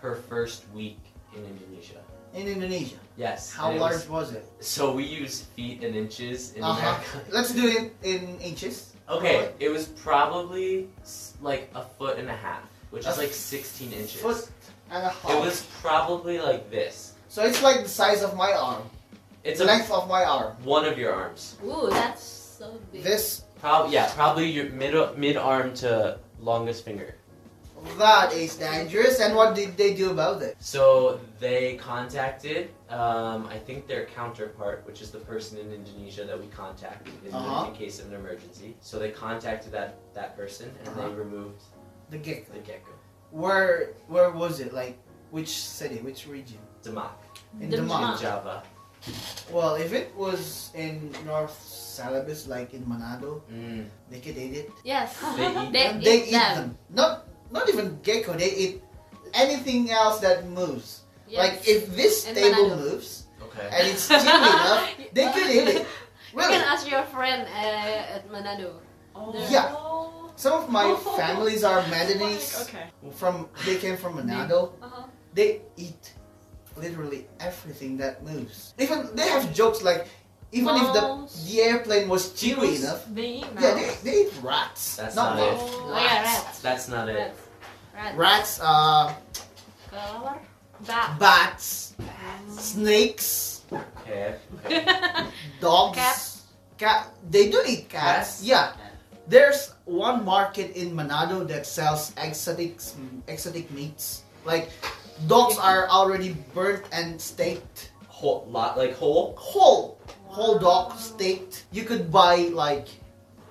[SPEAKER 3] her first week in Indonesia.
[SPEAKER 2] it. In Indonesia.
[SPEAKER 3] Yes.
[SPEAKER 2] How
[SPEAKER 3] and it
[SPEAKER 2] large was it?
[SPEAKER 3] was- so we use feet and inches in
[SPEAKER 2] Uh-huh.
[SPEAKER 3] America.
[SPEAKER 2] Let's do it in inches.
[SPEAKER 3] Okay, it was probably s- like a foot and a half, which is
[SPEAKER 2] A
[SPEAKER 3] like 16 inches.
[SPEAKER 2] Foot and a
[SPEAKER 3] It
[SPEAKER 2] half.
[SPEAKER 3] was probably like this.
[SPEAKER 2] so it's like the size of my arm.
[SPEAKER 3] It's
[SPEAKER 2] the
[SPEAKER 3] a,
[SPEAKER 2] length of my arm.
[SPEAKER 3] one of your arms.
[SPEAKER 5] Ooh, that's so big.
[SPEAKER 2] This,
[SPEAKER 3] Probably yeah, probably your mid mid arm to longest finger.
[SPEAKER 2] that is dangerous. And what did they do about it?
[SPEAKER 3] So they contacted, um, I think their counterpart, which is the person in Indonesia that we contacted in, the-
[SPEAKER 2] Uh-huh.
[SPEAKER 3] in case of an emergency. So they contacted that that person and
[SPEAKER 2] Uh-huh.
[SPEAKER 3] they removed
[SPEAKER 2] The gecko.
[SPEAKER 3] the gecko.
[SPEAKER 2] Where where was it? Like which city? Which region?
[SPEAKER 3] Demak
[SPEAKER 2] In
[SPEAKER 5] The
[SPEAKER 3] in
[SPEAKER 2] Demak.
[SPEAKER 5] Demak.
[SPEAKER 3] Java.
[SPEAKER 2] Well, if it was in North Celebes, like in Manado,
[SPEAKER 3] Mm.
[SPEAKER 2] they could eat it.
[SPEAKER 5] Yes.
[SPEAKER 3] They eat
[SPEAKER 2] And they eat them. Not not even gecko. They eat anything else that moves.
[SPEAKER 5] Yes.
[SPEAKER 2] Like if this
[SPEAKER 5] In
[SPEAKER 2] table
[SPEAKER 5] Manado.
[SPEAKER 2] moves
[SPEAKER 3] Okay.
[SPEAKER 2] and it's cheap enough, they could eat it.
[SPEAKER 5] You can
[SPEAKER 2] Really?
[SPEAKER 5] ask your friend uh, at Manado.
[SPEAKER 4] Oh.
[SPEAKER 2] Yeah. Some of my families are
[SPEAKER 4] Like,
[SPEAKER 2] Mandanese.
[SPEAKER 4] okay.
[SPEAKER 2] From they came from Manado.
[SPEAKER 5] Uh-huh.
[SPEAKER 2] They eat literally everything that moves. Even they have jokes like, even if the
[SPEAKER 5] Mouse.
[SPEAKER 2] the airplane was cheap
[SPEAKER 4] Mouse.
[SPEAKER 2] enough.
[SPEAKER 4] They eat mouse.
[SPEAKER 2] Yeah, they, they eat rats.
[SPEAKER 3] That's
[SPEAKER 2] not
[SPEAKER 3] not it.
[SPEAKER 2] mouse.
[SPEAKER 5] Oh, yeah,
[SPEAKER 2] Rats.
[SPEAKER 5] rats.
[SPEAKER 3] That's not it.
[SPEAKER 5] Rats. Rats.
[SPEAKER 2] Rats, uh,
[SPEAKER 5] Kelawar. Bat.
[SPEAKER 2] bats, snakes,
[SPEAKER 3] Okay. okay.
[SPEAKER 2] dogs.
[SPEAKER 5] Cats.
[SPEAKER 2] Cat. They do eat cats.
[SPEAKER 3] Cats?
[SPEAKER 2] Yeah. There's one market in Manado that sells exotic exotic meats. Like dogs are already burnt and staked.
[SPEAKER 3] Whole lot like whole.
[SPEAKER 2] Whole whole dog staked. You could buy like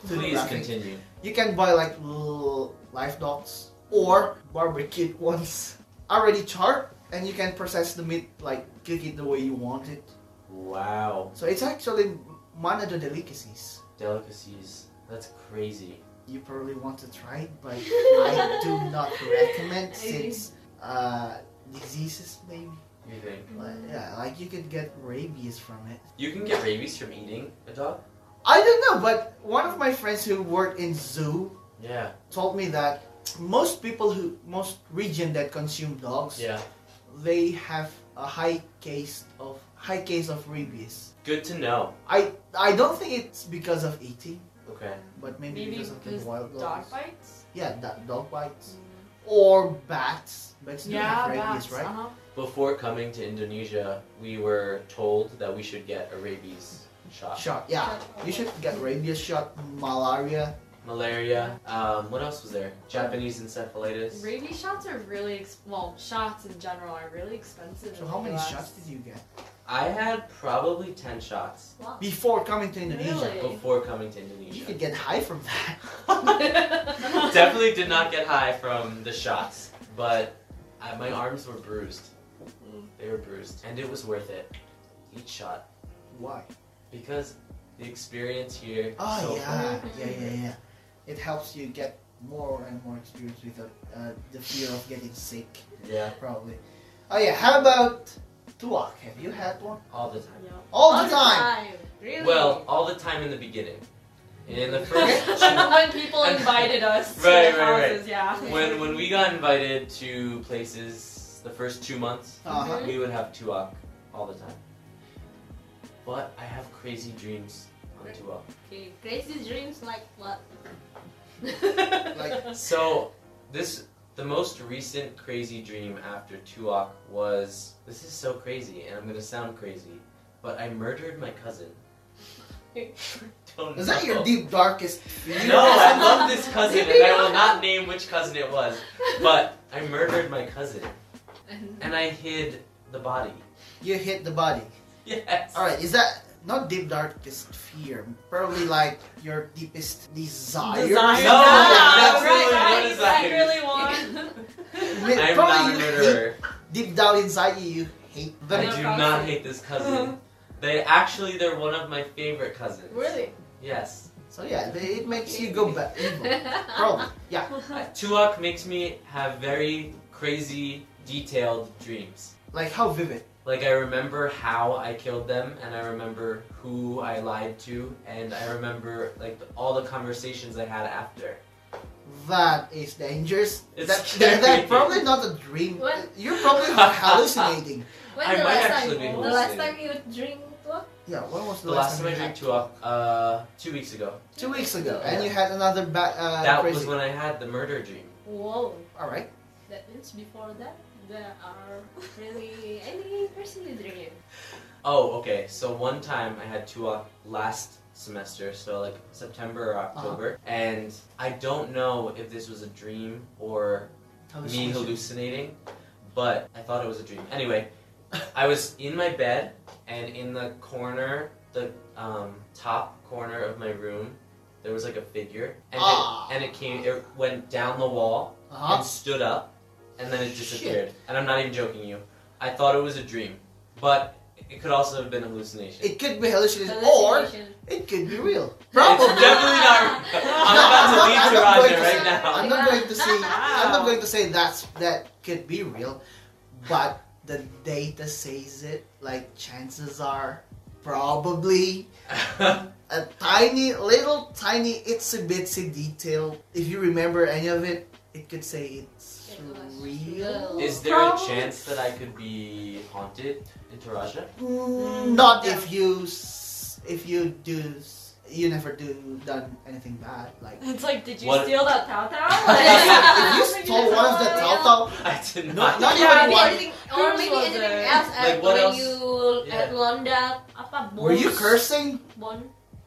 [SPEAKER 2] food
[SPEAKER 3] Please
[SPEAKER 2] graphic.
[SPEAKER 3] continue.
[SPEAKER 2] You can buy like little live dogs or barbecued ones already charred, and you can process the meat like cook it the way you want it.
[SPEAKER 3] Wow.
[SPEAKER 2] So it's actually one of the delicacies.
[SPEAKER 3] Delicacies. That's crazy.
[SPEAKER 2] You probably want to try it, but I do not recommend since uh, diseases maybe.
[SPEAKER 3] You think?
[SPEAKER 2] Like, yeah, like you could get rabies from it.
[SPEAKER 3] You can get rabies from eating a dog?
[SPEAKER 2] I don't know, but one of my friends who worked in zoo
[SPEAKER 3] Yeah.
[SPEAKER 2] told me that most people who most region that consume dogs
[SPEAKER 3] Yeah.
[SPEAKER 2] they have a high case of high case of rabies.
[SPEAKER 3] Good to know.
[SPEAKER 2] I I don't think it's because of eating,
[SPEAKER 3] Okay.
[SPEAKER 2] but maybe,
[SPEAKER 4] Maybe
[SPEAKER 2] because of the
[SPEAKER 4] because
[SPEAKER 2] wild dogs.
[SPEAKER 4] Dog bites?
[SPEAKER 2] Yeah, da- dog bites or bats. Bats
[SPEAKER 4] Yeah,
[SPEAKER 2] do have rabies,
[SPEAKER 4] bats.
[SPEAKER 2] right?
[SPEAKER 4] Uh-huh.
[SPEAKER 3] Before coming to Indonesia, we were told that we should get a rabies shot.
[SPEAKER 2] Shot. Yeah, you should get rabies shot, malaria.
[SPEAKER 3] Malaria. Um, what else was there? Japanese encephalitis.
[SPEAKER 4] Rabies shots are really ex- well, shots in general are really expensive.
[SPEAKER 2] So
[SPEAKER 4] in
[SPEAKER 2] how
[SPEAKER 4] the
[SPEAKER 2] many
[SPEAKER 4] US.
[SPEAKER 2] shots did you get
[SPEAKER 3] I had probably 10 shots
[SPEAKER 2] before coming to Indonesia?
[SPEAKER 4] Really?
[SPEAKER 3] before coming to
[SPEAKER 2] You
[SPEAKER 3] Indonesia.
[SPEAKER 2] could get high from that.
[SPEAKER 3] Definitely did not get high from the shots, but I, my arms were bruised.
[SPEAKER 2] Mm.
[SPEAKER 3] They were bruised, and it was worth it. Each shot.
[SPEAKER 2] Why?
[SPEAKER 3] Because the experience here.
[SPEAKER 2] Oh
[SPEAKER 3] so
[SPEAKER 2] yeah,
[SPEAKER 5] Mhm.
[SPEAKER 2] yeah, yeah, yeah. It helps you get more and more experience without uh, the fear of getting sick,
[SPEAKER 3] Yeah,
[SPEAKER 2] probably. Oh yeah, how about tuak? Have you had one?
[SPEAKER 3] all the time.
[SPEAKER 4] Yeah.
[SPEAKER 2] All, the time.
[SPEAKER 5] Really?
[SPEAKER 3] Well, all the time in the beginning. In the first two,
[SPEAKER 4] when people invited us to
[SPEAKER 3] Right,
[SPEAKER 4] their
[SPEAKER 3] right, right.
[SPEAKER 4] houses, yeah.
[SPEAKER 3] when when we got invited to places the first two months,
[SPEAKER 2] Uh-huh.
[SPEAKER 3] we would have tuak all the time. But I have crazy dreams on tuak.
[SPEAKER 5] Okay. Crazy dreams like what?
[SPEAKER 2] Like-
[SPEAKER 3] So this the most recent crazy dream after Tuak was this is so crazy and I'm gonna sound crazy, but I murdered my cousin. Don't
[SPEAKER 2] Is that
[SPEAKER 3] know.
[SPEAKER 2] your deep darkest fear?
[SPEAKER 3] No, I love this cousin and I will not name which cousin it was. But I murdered my cousin and I hid the body.
[SPEAKER 2] You hit the body.
[SPEAKER 3] Yes.
[SPEAKER 2] All right, is that not deep darkest fear? Probably like your deepest desire.
[SPEAKER 4] Desire.
[SPEAKER 3] No,
[SPEAKER 4] Yeah,
[SPEAKER 3] absolutely
[SPEAKER 4] right,
[SPEAKER 3] not
[SPEAKER 4] right,
[SPEAKER 3] desires.
[SPEAKER 4] really want.
[SPEAKER 2] Mi-
[SPEAKER 3] I'm
[SPEAKER 2] Probably
[SPEAKER 3] not a
[SPEAKER 2] you
[SPEAKER 3] murderer.
[SPEAKER 2] hate- deep down inside you, you hate
[SPEAKER 3] I
[SPEAKER 2] them.
[SPEAKER 3] do not hate this
[SPEAKER 2] Uh-huh.
[SPEAKER 3] cousin. They actually they're one of my favorite cousins.
[SPEAKER 4] really?
[SPEAKER 3] Yes.
[SPEAKER 2] So yeah, it makes you go back. evil. Probably. Yeah.
[SPEAKER 3] Uh, Tuak makes me have very crazy, detailed dreams.
[SPEAKER 2] Like how vivid.
[SPEAKER 3] Like I remember how I killed them, and I remember who I lied to, and I remember like the, all the conversations I had after.
[SPEAKER 2] That is dangerous.
[SPEAKER 3] It's
[SPEAKER 2] that,
[SPEAKER 3] scary.
[SPEAKER 2] that, that's probably not a dream.
[SPEAKER 5] What?
[SPEAKER 2] You're probably hallucinating.
[SPEAKER 5] When
[SPEAKER 3] I
[SPEAKER 5] the
[SPEAKER 3] might
[SPEAKER 5] last
[SPEAKER 3] actually be
[SPEAKER 5] time? The last time
[SPEAKER 3] hallucinating.
[SPEAKER 5] you drink what?
[SPEAKER 2] Yeah, when was the,
[SPEAKER 3] The last time I
[SPEAKER 2] you
[SPEAKER 3] drank
[SPEAKER 2] had-
[SPEAKER 3] Tuak, uh, two weeks ago.
[SPEAKER 2] Two weeks ago, and you had another ba- uh,
[SPEAKER 3] that
[SPEAKER 2] crazy.
[SPEAKER 3] was when I had the murder dream.
[SPEAKER 5] Whoa.
[SPEAKER 2] All right.
[SPEAKER 5] That means before that there are really any person you drink.
[SPEAKER 3] Oh, okay. So one time I had Tuak last semester, so like September or October, and I don't know if this was a dream or
[SPEAKER 2] Oh,
[SPEAKER 3] me hallucinating, but I thought it was a dream. Anyway, I was in my bed, and in the corner, the um, top corner of my room, there was like a figure, and,
[SPEAKER 2] Ah.
[SPEAKER 3] it, and it came, it went down the wall
[SPEAKER 2] Uh-huh.
[SPEAKER 3] and stood up, and then it disappeared. And I'm not even joking you. I thought it was a dream, but it could also have been a hallucination.
[SPEAKER 2] It could be hallucination, or
[SPEAKER 5] Hallucination.
[SPEAKER 2] it could be real.
[SPEAKER 3] It's
[SPEAKER 2] Probably.
[SPEAKER 3] definitely not. I'm
[SPEAKER 2] No,
[SPEAKER 3] about to
[SPEAKER 2] I'm
[SPEAKER 3] leave
[SPEAKER 2] not-
[SPEAKER 3] to
[SPEAKER 2] I'm not
[SPEAKER 3] Roger
[SPEAKER 2] going to
[SPEAKER 3] right
[SPEAKER 2] say-
[SPEAKER 3] now.
[SPEAKER 2] I'm not going to say. I'm not
[SPEAKER 4] Wow.
[SPEAKER 2] going to say that's that could be real, but the data says it. Like chances are, probably a tiny, little tiny itsy bitsy detail. If you remember any of it, it could say it's
[SPEAKER 5] It was
[SPEAKER 2] real.
[SPEAKER 5] real.
[SPEAKER 3] Is there a
[SPEAKER 2] Probably.
[SPEAKER 3] chance that I could be haunted in Taraja?
[SPEAKER 2] Mm, Not if you s- if you do s- you never do done anything bad. Like
[SPEAKER 4] It's like, did you
[SPEAKER 3] What-
[SPEAKER 4] steal that tao
[SPEAKER 2] if
[SPEAKER 4] tao?
[SPEAKER 2] you stole one of the
[SPEAKER 5] real.
[SPEAKER 2] Taotao,
[SPEAKER 3] I did
[SPEAKER 2] not
[SPEAKER 3] not.
[SPEAKER 2] not
[SPEAKER 4] Yeah,
[SPEAKER 2] even
[SPEAKER 5] Maybe
[SPEAKER 2] one.
[SPEAKER 5] anything, or
[SPEAKER 4] Cruise
[SPEAKER 5] maybe
[SPEAKER 4] was
[SPEAKER 5] anything
[SPEAKER 4] there.
[SPEAKER 5] else at
[SPEAKER 3] Like, what
[SPEAKER 5] when
[SPEAKER 3] else?
[SPEAKER 5] you
[SPEAKER 3] Yeah.
[SPEAKER 5] at Londa apa bons?
[SPEAKER 2] Were you cursing?
[SPEAKER 5] Bon?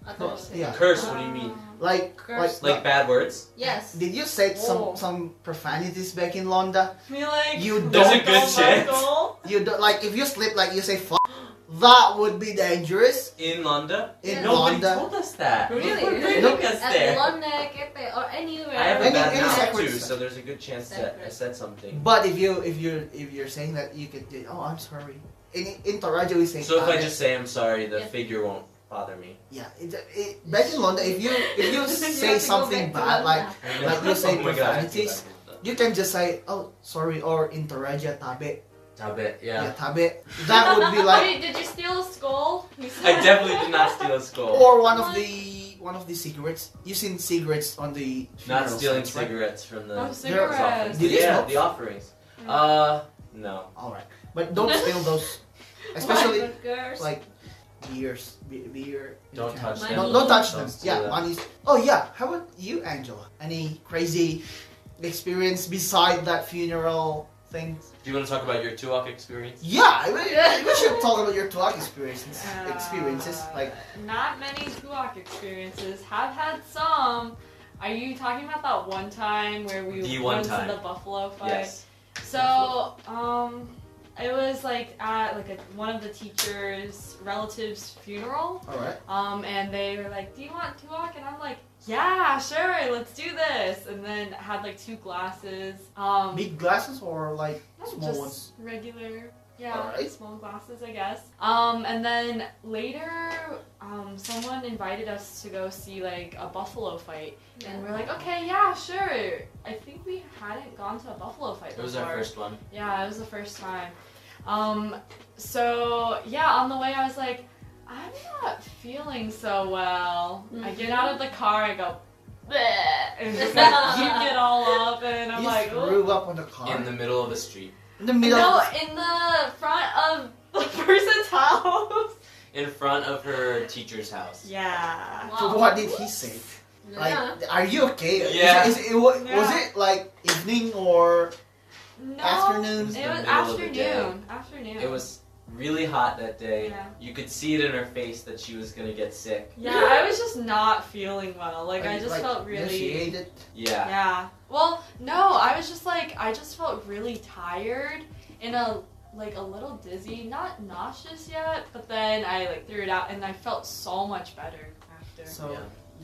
[SPEAKER 5] Atau
[SPEAKER 2] Curse, yeah.
[SPEAKER 3] Curse, what do you mean?
[SPEAKER 2] Like
[SPEAKER 4] Curse.
[SPEAKER 2] like.
[SPEAKER 3] Like bad words?
[SPEAKER 5] Yes.
[SPEAKER 2] did you say some
[SPEAKER 4] Oh.
[SPEAKER 2] some profanities back in Londa?
[SPEAKER 4] Me like,
[SPEAKER 2] You
[SPEAKER 3] There's a good
[SPEAKER 4] Michael,
[SPEAKER 3] chance.
[SPEAKER 4] Michael.
[SPEAKER 2] You do, like if you slip like you say f that would be dangerous
[SPEAKER 3] In Londa?
[SPEAKER 2] in
[SPEAKER 5] Yeah.
[SPEAKER 3] Nobody
[SPEAKER 2] Londa.
[SPEAKER 3] told us that.
[SPEAKER 4] Really?
[SPEAKER 3] Look what
[SPEAKER 5] Really?
[SPEAKER 3] took us
[SPEAKER 5] At
[SPEAKER 3] there.
[SPEAKER 5] Londa Cafe or anywhere.
[SPEAKER 3] I have a
[SPEAKER 2] Any-
[SPEAKER 3] bad
[SPEAKER 2] any
[SPEAKER 3] mouth
[SPEAKER 2] sacred
[SPEAKER 3] too,
[SPEAKER 2] stuff.
[SPEAKER 3] so there's a good chance that I
[SPEAKER 5] Sacred.
[SPEAKER 3] said something.
[SPEAKER 2] But if you if you're if you're saying that you could do oh I'm sorry. In in Toraja we say
[SPEAKER 3] So if I
[SPEAKER 2] "Tame."
[SPEAKER 3] just say I'm sorry, the
[SPEAKER 5] Yeah.
[SPEAKER 3] figure won't bother me.
[SPEAKER 2] Yeah, it, it, back in London, if you if you say
[SPEAKER 5] have to go
[SPEAKER 2] something
[SPEAKER 5] back
[SPEAKER 2] bad
[SPEAKER 5] to
[SPEAKER 2] like
[SPEAKER 3] I
[SPEAKER 2] Like you
[SPEAKER 3] know.
[SPEAKER 2] say
[SPEAKER 3] oh my god. I have to
[SPEAKER 2] profanities.
[SPEAKER 3] laugh at
[SPEAKER 2] you can just say oh sorry or interaja tabe
[SPEAKER 7] Tabe, yeah.
[SPEAKER 2] yeah. tabe that would be like
[SPEAKER 5] did, did you steal a skull? You
[SPEAKER 7] I
[SPEAKER 5] said-
[SPEAKER 7] definitely did not steal a skull.
[SPEAKER 2] or one of the one of the cigarettes you seen cigarettes on the
[SPEAKER 3] that. Not
[SPEAKER 2] funeral
[SPEAKER 3] stealing
[SPEAKER 2] sites, right?
[SPEAKER 3] cigarettes from the
[SPEAKER 4] Oh,
[SPEAKER 3] Those offerings.
[SPEAKER 4] cigarettes.
[SPEAKER 2] Did you
[SPEAKER 3] yeah,
[SPEAKER 2] smoke?
[SPEAKER 3] the offerings.
[SPEAKER 4] Mm.
[SPEAKER 3] Uh, no.
[SPEAKER 2] all right but don't steal those especially
[SPEAKER 5] What, girls?
[SPEAKER 2] like beers be- beer
[SPEAKER 7] Don't
[SPEAKER 2] okay.
[SPEAKER 7] touch
[SPEAKER 5] Mine-
[SPEAKER 7] them.
[SPEAKER 2] don't, don't touch
[SPEAKER 3] Don't
[SPEAKER 2] them
[SPEAKER 3] steal
[SPEAKER 2] yeah
[SPEAKER 3] them.
[SPEAKER 2] money's oh yeah how about you Angela any crazy experience beside that funeral thing
[SPEAKER 7] Do you want to talk about your Tuwak experience?
[SPEAKER 2] yeah I mean, we should talk about your talk experiences
[SPEAKER 4] Uh,
[SPEAKER 2] experiences like
[SPEAKER 4] Not many Tuwak experiences. Have had some. Are you talking about that one time where we
[SPEAKER 3] The one
[SPEAKER 4] went
[SPEAKER 3] time.
[SPEAKER 4] to the buffalo fight?
[SPEAKER 3] Yes.
[SPEAKER 4] So, um, it was like at like a, one of the teachers' relatives' funeral,
[SPEAKER 2] all right
[SPEAKER 4] um, and they were like, "Do you want tuwak?" And I'm like, "Yeah, sure, let's do this." And then had like two glasses. Um,
[SPEAKER 2] Big glasses or like
[SPEAKER 4] no,
[SPEAKER 2] small
[SPEAKER 4] just
[SPEAKER 2] ones?
[SPEAKER 4] regular. Yeah,
[SPEAKER 2] Alright.
[SPEAKER 4] small glasses, I guess. Um, and then later, um, someone invited us to go see like a buffalo fight, and we're like, okay, yeah, sure. I think we hadn't gone to a buffalo fight
[SPEAKER 3] It was
[SPEAKER 4] before.
[SPEAKER 3] our first one.
[SPEAKER 4] Yeah, it was the first time. Um, so yeah, on the way I was like, I'm not feeling so well. I get out of the car, I go, "Bleh," and just like, you get all up, and I'm
[SPEAKER 2] you
[SPEAKER 4] like, "Ooh."
[SPEAKER 2] threw up on the car
[SPEAKER 7] In the middle of the street.
[SPEAKER 2] In the middle.
[SPEAKER 4] no, in the front of the person's house.
[SPEAKER 3] In front of her teacher's house.
[SPEAKER 4] Yeah.
[SPEAKER 2] So what did he say? Like, are you okay?
[SPEAKER 3] Yeah.
[SPEAKER 2] Is, is it, was,
[SPEAKER 4] Yeah.
[SPEAKER 2] was it like evening or
[SPEAKER 4] No,
[SPEAKER 2] afternoon?
[SPEAKER 4] it was
[SPEAKER 3] The middle of the day.
[SPEAKER 4] afternoon. Afternoon.
[SPEAKER 3] It was really hot that day.
[SPEAKER 4] Yeah.
[SPEAKER 3] You could see it in her face that she was gonna get sick.
[SPEAKER 4] Yeah, I was just not feeling well. Like I just
[SPEAKER 2] Like,
[SPEAKER 4] felt
[SPEAKER 2] yeah,
[SPEAKER 4] really.
[SPEAKER 2] She ate it.
[SPEAKER 3] Yeah.
[SPEAKER 4] Yeah. Well, no, I was just like I just felt really tired and a like a little dizzy, not nauseous yet, but then I like threw it out and I felt so much better after.
[SPEAKER 2] So
[SPEAKER 3] Yeah.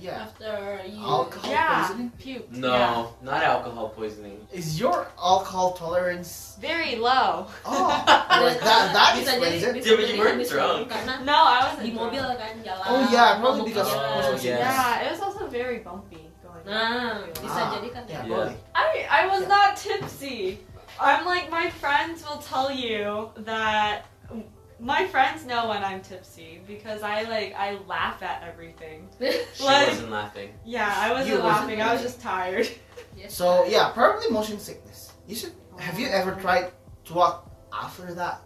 [SPEAKER 2] yeah.
[SPEAKER 5] After you.
[SPEAKER 2] Alcohol
[SPEAKER 4] yeah,
[SPEAKER 2] poisoning?
[SPEAKER 4] puke.
[SPEAKER 3] No,
[SPEAKER 4] yeah.
[SPEAKER 3] not alcohol poisoning.
[SPEAKER 2] Is your alcohol tolerance?
[SPEAKER 4] Very low.
[SPEAKER 2] Oh, alright, that that
[SPEAKER 5] Bisa
[SPEAKER 2] explains
[SPEAKER 5] jadi-
[SPEAKER 2] it.
[SPEAKER 5] bisa
[SPEAKER 3] Yeah, but you
[SPEAKER 5] jadi
[SPEAKER 3] weren't
[SPEAKER 5] habis
[SPEAKER 3] drunk.
[SPEAKER 5] minum Karena
[SPEAKER 4] No, I wasn't
[SPEAKER 5] di mobil
[SPEAKER 4] drunk.
[SPEAKER 5] kan jalan.
[SPEAKER 2] Oh, yeah, probably
[SPEAKER 5] mabuk
[SPEAKER 2] because-
[SPEAKER 5] jalan.
[SPEAKER 3] Oh, yes.
[SPEAKER 4] Yeah, it was also very bumpy going.
[SPEAKER 5] Nah,
[SPEAKER 4] on.
[SPEAKER 5] bisa
[SPEAKER 2] Ah,
[SPEAKER 5] jadi kan.
[SPEAKER 2] Yeah,
[SPEAKER 3] Yeah.
[SPEAKER 2] probably.
[SPEAKER 4] I I was
[SPEAKER 2] Yeah.
[SPEAKER 4] not tipsy. I'm like my friends will tell you that my friends know when I'm tipsy because I like I laugh at everything.
[SPEAKER 3] She
[SPEAKER 4] Like-
[SPEAKER 3] wasn't laughing.
[SPEAKER 4] Yeah, I
[SPEAKER 2] You
[SPEAKER 4] wasn't
[SPEAKER 2] wasn't
[SPEAKER 4] laughing. I was just tired.
[SPEAKER 5] Yes.
[SPEAKER 2] So yeah, probably motion sickness. You should. Have you
[SPEAKER 4] Oh.
[SPEAKER 2] ever tried to walk after that?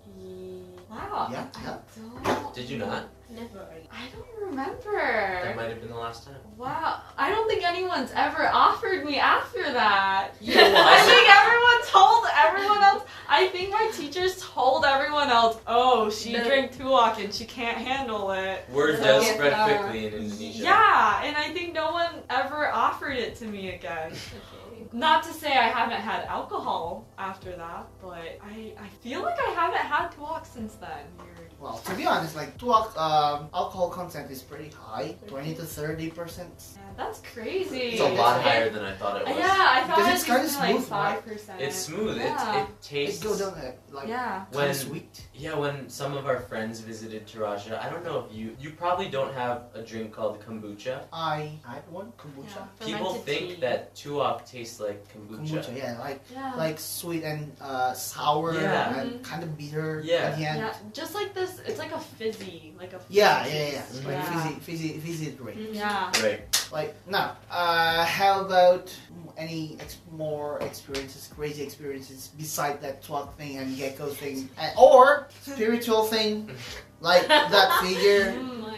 [SPEAKER 4] Wow.
[SPEAKER 2] Yeah, yeah.
[SPEAKER 4] Oh, I don't.
[SPEAKER 3] Did you not?
[SPEAKER 5] Never again.
[SPEAKER 4] I don't
[SPEAKER 3] That
[SPEAKER 4] remember.
[SPEAKER 3] might have been the last time.
[SPEAKER 4] Wow. I don't think anyone's ever offered me after that. I
[SPEAKER 3] I
[SPEAKER 4] think everyone told everyone else. I think my teachers told everyone else. Oh, she
[SPEAKER 5] The-
[SPEAKER 4] drank Tulak and she can't handle it.
[SPEAKER 3] Word
[SPEAKER 5] So
[SPEAKER 3] does
[SPEAKER 5] if,
[SPEAKER 3] spread
[SPEAKER 5] uh,
[SPEAKER 3] quickly in Indonesia.
[SPEAKER 4] Yeah, and I think no one ever offered it to me again.
[SPEAKER 5] Okay.
[SPEAKER 4] Not to say I haven't had alcohol after that, but I, I feel like I haven't had Tulak since then. Weird.
[SPEAKER 2] Well, to be honest, like to walk, um, alcohol content is pretty high, twenty to thirty percent.
[SPEAKER 4] Yeah, that's crazy.
[SPEAKER 3] It's a lot higher than I thought it
[SPEAKER 4] Yeah,
[SPEAKER 3] was.
[SPEAKER 4] I thought
[SPEAKER 2] Because
[SPEAKER 4] it
[SPEAKER 2] it's
[SPEAKER 4] was
[SPEAKER 2] kinda
[SPEAKER 4] just like
[SPEAKER 2] smooth, right?
[SPEAKER 4] five percent.
[SPEAKER 3] It's smooth.
[SPEAKER 4] Yeah.
[SPEAKER 3] It, it
[SPEAKER 2] It
[SPEAKER 3] tastes.
[SPEAKER 2] goes down uh, like
[SPEAKER 4] yeah.
[SPEAKER 2] kind
[SPEAKER 3] When-
[SPEAKER 2] of sweet.
[SPEAKER 3] Yeah, when some of our friends visited Taraja, I don't know if you you probably don't have a drink called kombucha.
[SPEAKER 2] I had one kombucha.
[SPEAKER 3] People
[SPEAKER 5] Fermented
[SPEAKER 3] think
[SPEAKER 5] tea.
[SPEAKER 3] that tuak tastes like kombucha.
[SPEAKER 2] Kombucha, yeah, like
[SPEAKER 4] Yeah. Mm-hmm.
[SPEAKER 2] like sweet and uh, sour
[SPEAKER 3] Yeah.
[SPEAKER 2] and kind of bitter. At
[SPEAKER 3] Yeah.
[SPEAKER 2] the end.
[SPEAKER 4] Yeah, just like this. It's like a fizzy, like a.
[SPEAKER 2] Yeah,
[SPEAKER 4] fizzy
[SPEAKER 2] yeah, yeah.
[SPEAKER 4] juice.
[SPEAKER 2] Like
[SPEAKER 4] Yeah. Mm, Mm-hmm.
[SPEAKER 2] fizzy, fizzy, fizzy drink.
[SPEAKER 4] Yeah.
[SPEAKER 3] Right.
[SPEAKER 2] Like now, uh, how about any ex- more experiences, crazy experiences beside that twat thing and gecko thing, uh, or spiritual thing, like that figure?
[SPEAKER 4] Mm.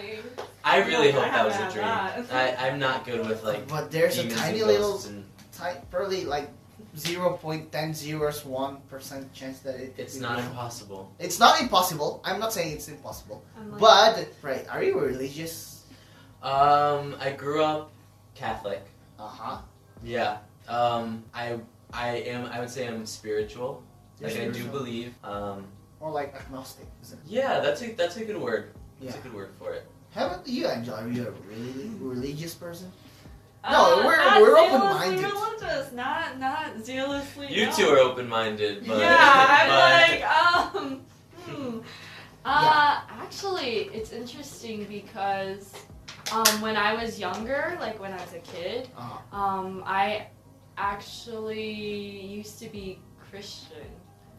[SPEAKER 3] I really
[SPEAKER 4] Yeah, I
[SPEAKER 3] hope that was a
[SPEAKER 4] haven't had
[SPEAKER 3] dream. I, I'm not good with like
[SPEAKER 2] but there's a
[SPEAKER 3] demons and
[SPEAKER 2] tiny little,
[SPEAKER 3] ghosts and
[SPEAKER 2] ti- probably like zero point ten zero one percent chance that it. could
[SPEAKER 3] it's
[SPEAKER 2] be
[SPEAKER 3] not
[SPEAKER 2] real.
[SPEAKER 3] impossible.
[SPEAKER 2] It's not impossible. I'm not saying it's impossible.
[SPEAKER 4] I'm like-
[SPEAKER 2] But right, are you religious?
[SPEAKER 3] Um, I grew up Catholic.
[SPEAKER 2] Uh huh.
[SPEAKER 3] Yeah. Um, I I am I would say I'm spiritual. Like I do believe. Um,
[SPEAKER 2] Or like agnostic. Is it?
[SPEAKER 3] yeah, that's a that's a good word. That's
[SPEAKER 2] Yeah.
[SPEAKER 3] a good word for it.
[SPEAKER 2] How about you, Angela? Are you a really religious person?
[SPEAKER 4] Uh,
[SPEAKER 2] No, we're-
[SPEAKER 4] not
[SPEAKER 2] we're
[SPEAKER 4] zealously
[SPEAKER 2] open-minded.
[SPEAKER 4] religious, not not zealously.
[SPEAKER 3] You
[SPEAKER 4] no.
[SPEAKER 3] two are open minded, but
[SPEAKER 4] yeah,
[SPEAKER 3] but-
[SPEAKER 4] I'm like um. Hmm. Uh, Actually, it's interesting because um, when I was younger, like when I was a kid,
[SPEAKER 2] Ah.
[SPEAKER 4] um, I actually used to be Christian.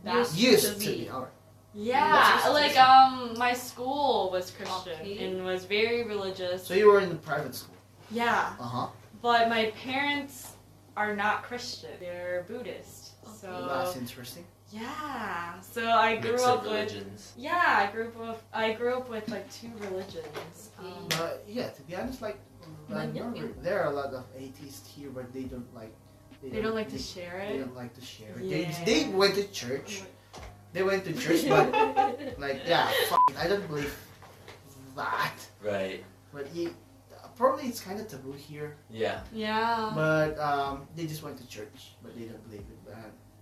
[SPEAKER 1] Used
[SPEAKER 2] Used
[SPEAKER 1] to
[SPEAKER 2] to
[SPEAKER 1] be.
[SPEAKER 2] be. Alright.
[SPEAKER 4] yeah,
[SPEAKER 1] Used to
[SPEAKER 4] like
[SPEAKER 1] be.
[SPEAKER 4] um, my school was Christian
[SPEAKER 5] Okay.
[SPEAKER 4] and was very religious.
[SPEAKER 2] So you were in the private school.
[SPEAKER 4] yeah,
[SPEAKER 2] Uh huh.
[SPEAKER 4] but my parents are not Christian; they're Buddhist.
[SPEAKER 2] That's
[SPEAKER 4] So
[SPEAKER 2] interesting.
[SPEAKER 4] yeah, so I grew
[SPEAKER 3] Mix
[SPEAKER 4] up
[SPEAKER 3] of
[SPEAKER 4] with
[SPEAKER 3] religions.
[SPEAKER 4] yeah, I grew up with I grew up with like two religions. Um,
[SPEAKER 2] But yeah, to be honest, like
[SPEAKER 5] But yeah,
[SPEAKER 2] Vancouver, there are a lot of atheists here, but they don't like.
[SPEAKER 4] they don't like to share
[SPEAKER 2] They
[SPEAKER 4] it.
[SPEAKER 2] don't like to share.
[SPEAKER 4] Yeah.
[SPEAKER 2] They, they went to church. They went to church, but like yeah, f- I don't believe that.
[SPEAKER 6] Right.
[SPEAKER 2] But he, probably it's kind of taboo here.
[SPEAKER 6] Yeah.
[SPEAKER 4] yeah.
[SPEAKER 2] But um, they just went to church, but they don't believe it. Uh,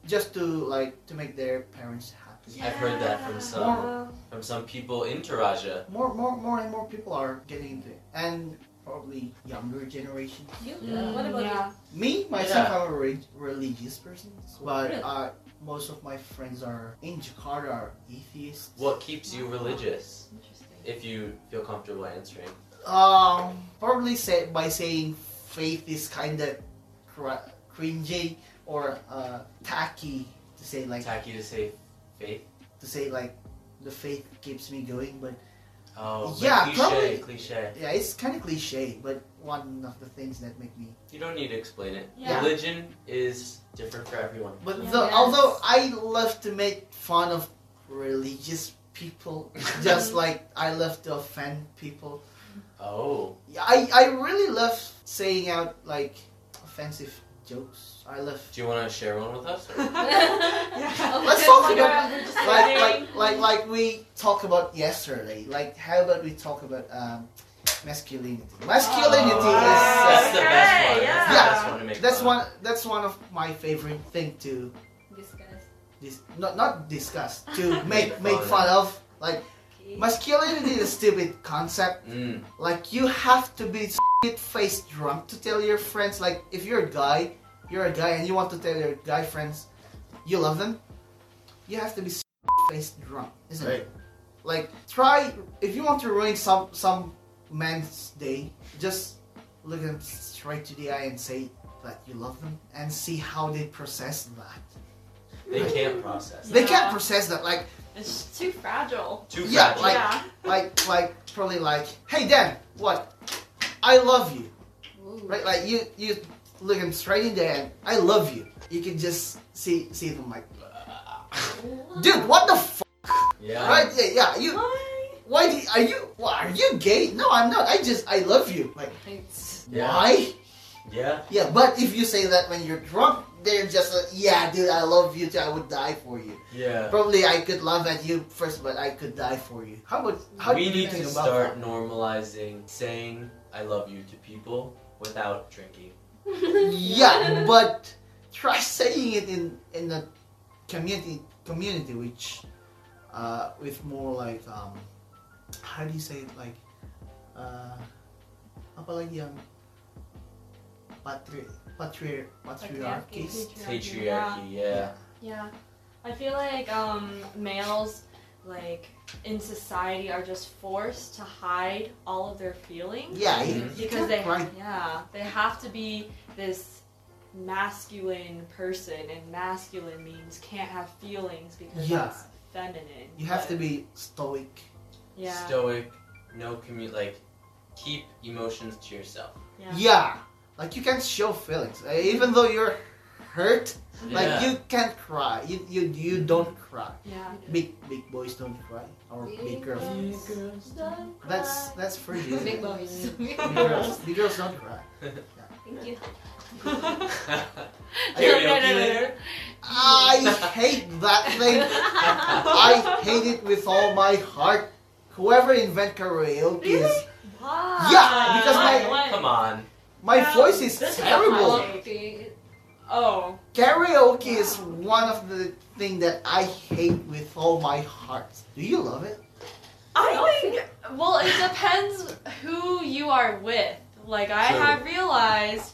[SPEAKER 2] just to like to make their parents happy.
[SPEAKER 6] I've heard that from some from some people in Taraja.
[SPEAKER 2] More, more, more, and more people are getting into it, and probably younger generation.
[SPEAKER 1] You?
[SPEAKER 5] uh,
[SPEAKER 6] Yeah.
[SPEAKER 1] What
[SPEAKER 5] Mm,
[SPEAKER 1] about
[SPEAKER 4] yeah.
[SPEAKER 2] Me myself,
[SPEAKER 6] Yeah.
[SPEAKER 2] I'm a re- religious person, but
[SPEAKER 1] Really?
[SPEAKER 2] uh, most of my friends are in Jakarta are atheists.
[SPEAKER 6] What keeps you religious?
[SPEAKER 1] you? Interesting.
[SPEAKER 6] If you feel comfortable answering.
[SPEAKER 2] Um, probably say by saying faith is kind of cr- cringy or uh, tacky to say like
[SPEAKER 6] Tacky to say faith.
[SPEAKER 2] to say like the faith keeps me going, but
[SPEAKER 6] Oh, but
[SPEAKER 2] Yeah,
[SPEAKER 6] cliche,
[SPEAKER 2] probably-
[SPEAKER 6] cliche.
[SPEAKER 2] yeah, it's kind of cliche. But one of the things that make me
[SPEAKER 6] You don't need to explain it.
[SPEAKER 4] Yeah.
[SPEAKER 6] Religion is different for everyone.
[SPEAKER 2] But
[SPEAKER 4] Yeah,
[SPEAKER 2] though,
[SPEAKER 4] yes.
[SPEAKER 2] although I love to make fun of religious people,
[SPEAKER 4] Mm-hmm.
[SPEAKER 2] just like I love to offend people.
[SPEAKER 6] Oh,
[SPEAKER 2] Yeah, I, I really love saying out like offensive jokes. I love
[SPEAKER 6] do you want to share one with us?
[SPEAKER 4] yeah.
[SPEAKER 2] Let's talk
[SPEAKER 1] Figure
[SPEAKER 2] about
[SPEAKER 1] out who just-
[SPEAKER 2] like like like like we talked about yesterday. Like how about we talk about um, masculinity? Masculinity
[SPEAKER 4] Oh,
[SPEAKER 6] that's
[SPEAKER 2] is.
[SPEAKER 6] the
[SPEAKER 2] Uh,
[SPEAKER 1] Okay,
[SPEAKER 6] best one.
[SPEAKER 1] yeah.
[SPEAKER 6] That's the best one to make.
[SPEAKER 2] that's
[SPEAKER 6] fun.
[SPEAKER 2] one. That's one of my favorite thing to
[SPEAKER 5] Discuss.
[SPEAKER 2] dis- not not discuss to make
[SPEAKER 6] Make
[SPEAKER 2] make
[SPEAKER 6] fun
[SPEAKER 2] fun of. Like
[SPEAKER 5] Okay.
[SPEAKER 2] Masculinity is a stupid concept.
[SPEAKER 6] Mm,
[SPEAKER 2] Like you have to be shit face drunk to tell your friends. Like if you're a guy, you're a guy and you want to tell your guy friends you love them, you have to be shit face drunk, isn't it? Like try if you want to ruin some some man's day, just look them straight to the eye and say that you love them and see how they process that.
[SPEAKER 6] they can't process.
[SPEAKER 2] They
[SPEAKER 4] Yeah.
[SPEAKER 2] can't process that. Like
[SPEAKER 4] It's too fragile.
[SPEAKER 6] Too
[SPEAKER 2] Yeah,
[SPEAKER 6] fragile.
[SPEAKER 2] Like-
[SPEAKER 4] yeah.
[SPEAKER 2] like like probably like hey Dan, what? I love you.
[SPEAKER 5] Ooh.
[SPEAKER 2] Right, like you, you look him straight in the eye. I love you. You can just see, see them like,
[SPEAKER 5] Oh.
[SPEAKER 2] dude, what the f?
[SPEAKER 6] yeah.
[SPEAKER 2] Right? Yeah, yeah. You, why do, are you? Why are you gay? No, I'm not. I just, I love you. Like,
[SPEAKER 5] It's-
[SPEAKER 6] Yeah.
[SPEAKER 2] why?
[SPEAKER 6] Yeah.
[SPEAKER 2] Yeah, but if you say that when you're drunk, they're just like, yeah, dude, I love you too. I would die for you.
[SPEAKER 6] Yeah.
[SPEAKER 2] Probably I could laugh at you first, but I could die for you. How about? How
[SPEAKER 6] we
[SPEAKER 2] do you
[SPEAKER 6] need
[SPEAKER 2] think
[SPEAKER 6] to
[SPEAKER 2] about
[SPEAKER 6] start normalizing saying "I love you" to people without drinking.
[SPEAKER 2] that? Yeah, but try saying it in in a community community which uh, with more like um, how do you say it like uh, apa lagi yang patri patri patriarchis
[SPEAKER 6] Patriarchy. Yeah.
[SPEAKER 4] Yeah. I feel like um, males, like in society, are just forced to hide all of their feelings
[SPEAKER 2] yeah you-
[SPEAKER 6] Mm-hmm.
[SPEAKER 2] you
[SPEAKER 4] because they
[SPEAKER 2] can't write-
[SPEAKER 4] yeah they have to be this masculine person, and masculine means can't have feelings because
[SPEAKER 2] Yeah.
[SPEAKER 4] it's feminine.
[SPEAKER 2] you have to
[SPEAKER 4] but-
[SPEAKER 2] be stoic
[SPEAKER 4] Yeah.
[SPEAKER 6] Stoic. No commute. Like, keep emotions to yourself.
[SPEAKER 4] yeah.
[SPEAKER 2] yeah like you can't show feelings Uh, even though you're hurt like
[SPEAKER 6] yeah.
[SPEAKER 2] you can't cry you you, you don't cry
[SPEAKER 4] Yeah.
[SPEAKER 2] big big boys don't cry or big
[SPEAKER 5] Big
[SPEAKER 2] girls
[SPEAKER 5] girls don't
[SPEAKER 2] that's that's for you
[SPEAKER 5] Uh, Big boys.
[SPEAKER 2] Big girls, big girls don't cry.
[SPEAKER 5] Thank you.
[SPEAKER 6] Karaoke
[SPEAKER 4] No, no, no, no,
[SPEAKER 6] later?
[SPEAKER 2] I hate that thing. I hate it with all my heart. Whoever invent karaoke is
[SPEAKER 4] Why?
[SPEAKER 2] Yeah, because my-
[SPEAKER 4] Why?
[SPEAKER 6] Come on.
[SPEAKER 2] my
[SPEAKER 4] Well,
[SPEAKER 2] voice is
[SPEAKER 4] this is
[SPEAKER 2] terrible.
[SPEAKER 4] hot.
[SPEAKER 5] Okay.
[SPEAKER 4] Oh.
[SPEAKER 2] Karaoke is one of the thing that I hate with all my heart. Do you love it?
[SPEAKER 4] I think well, it depends who you are with. Like I
[SPEAKER 6] True.
[SPEAKER 4] have realized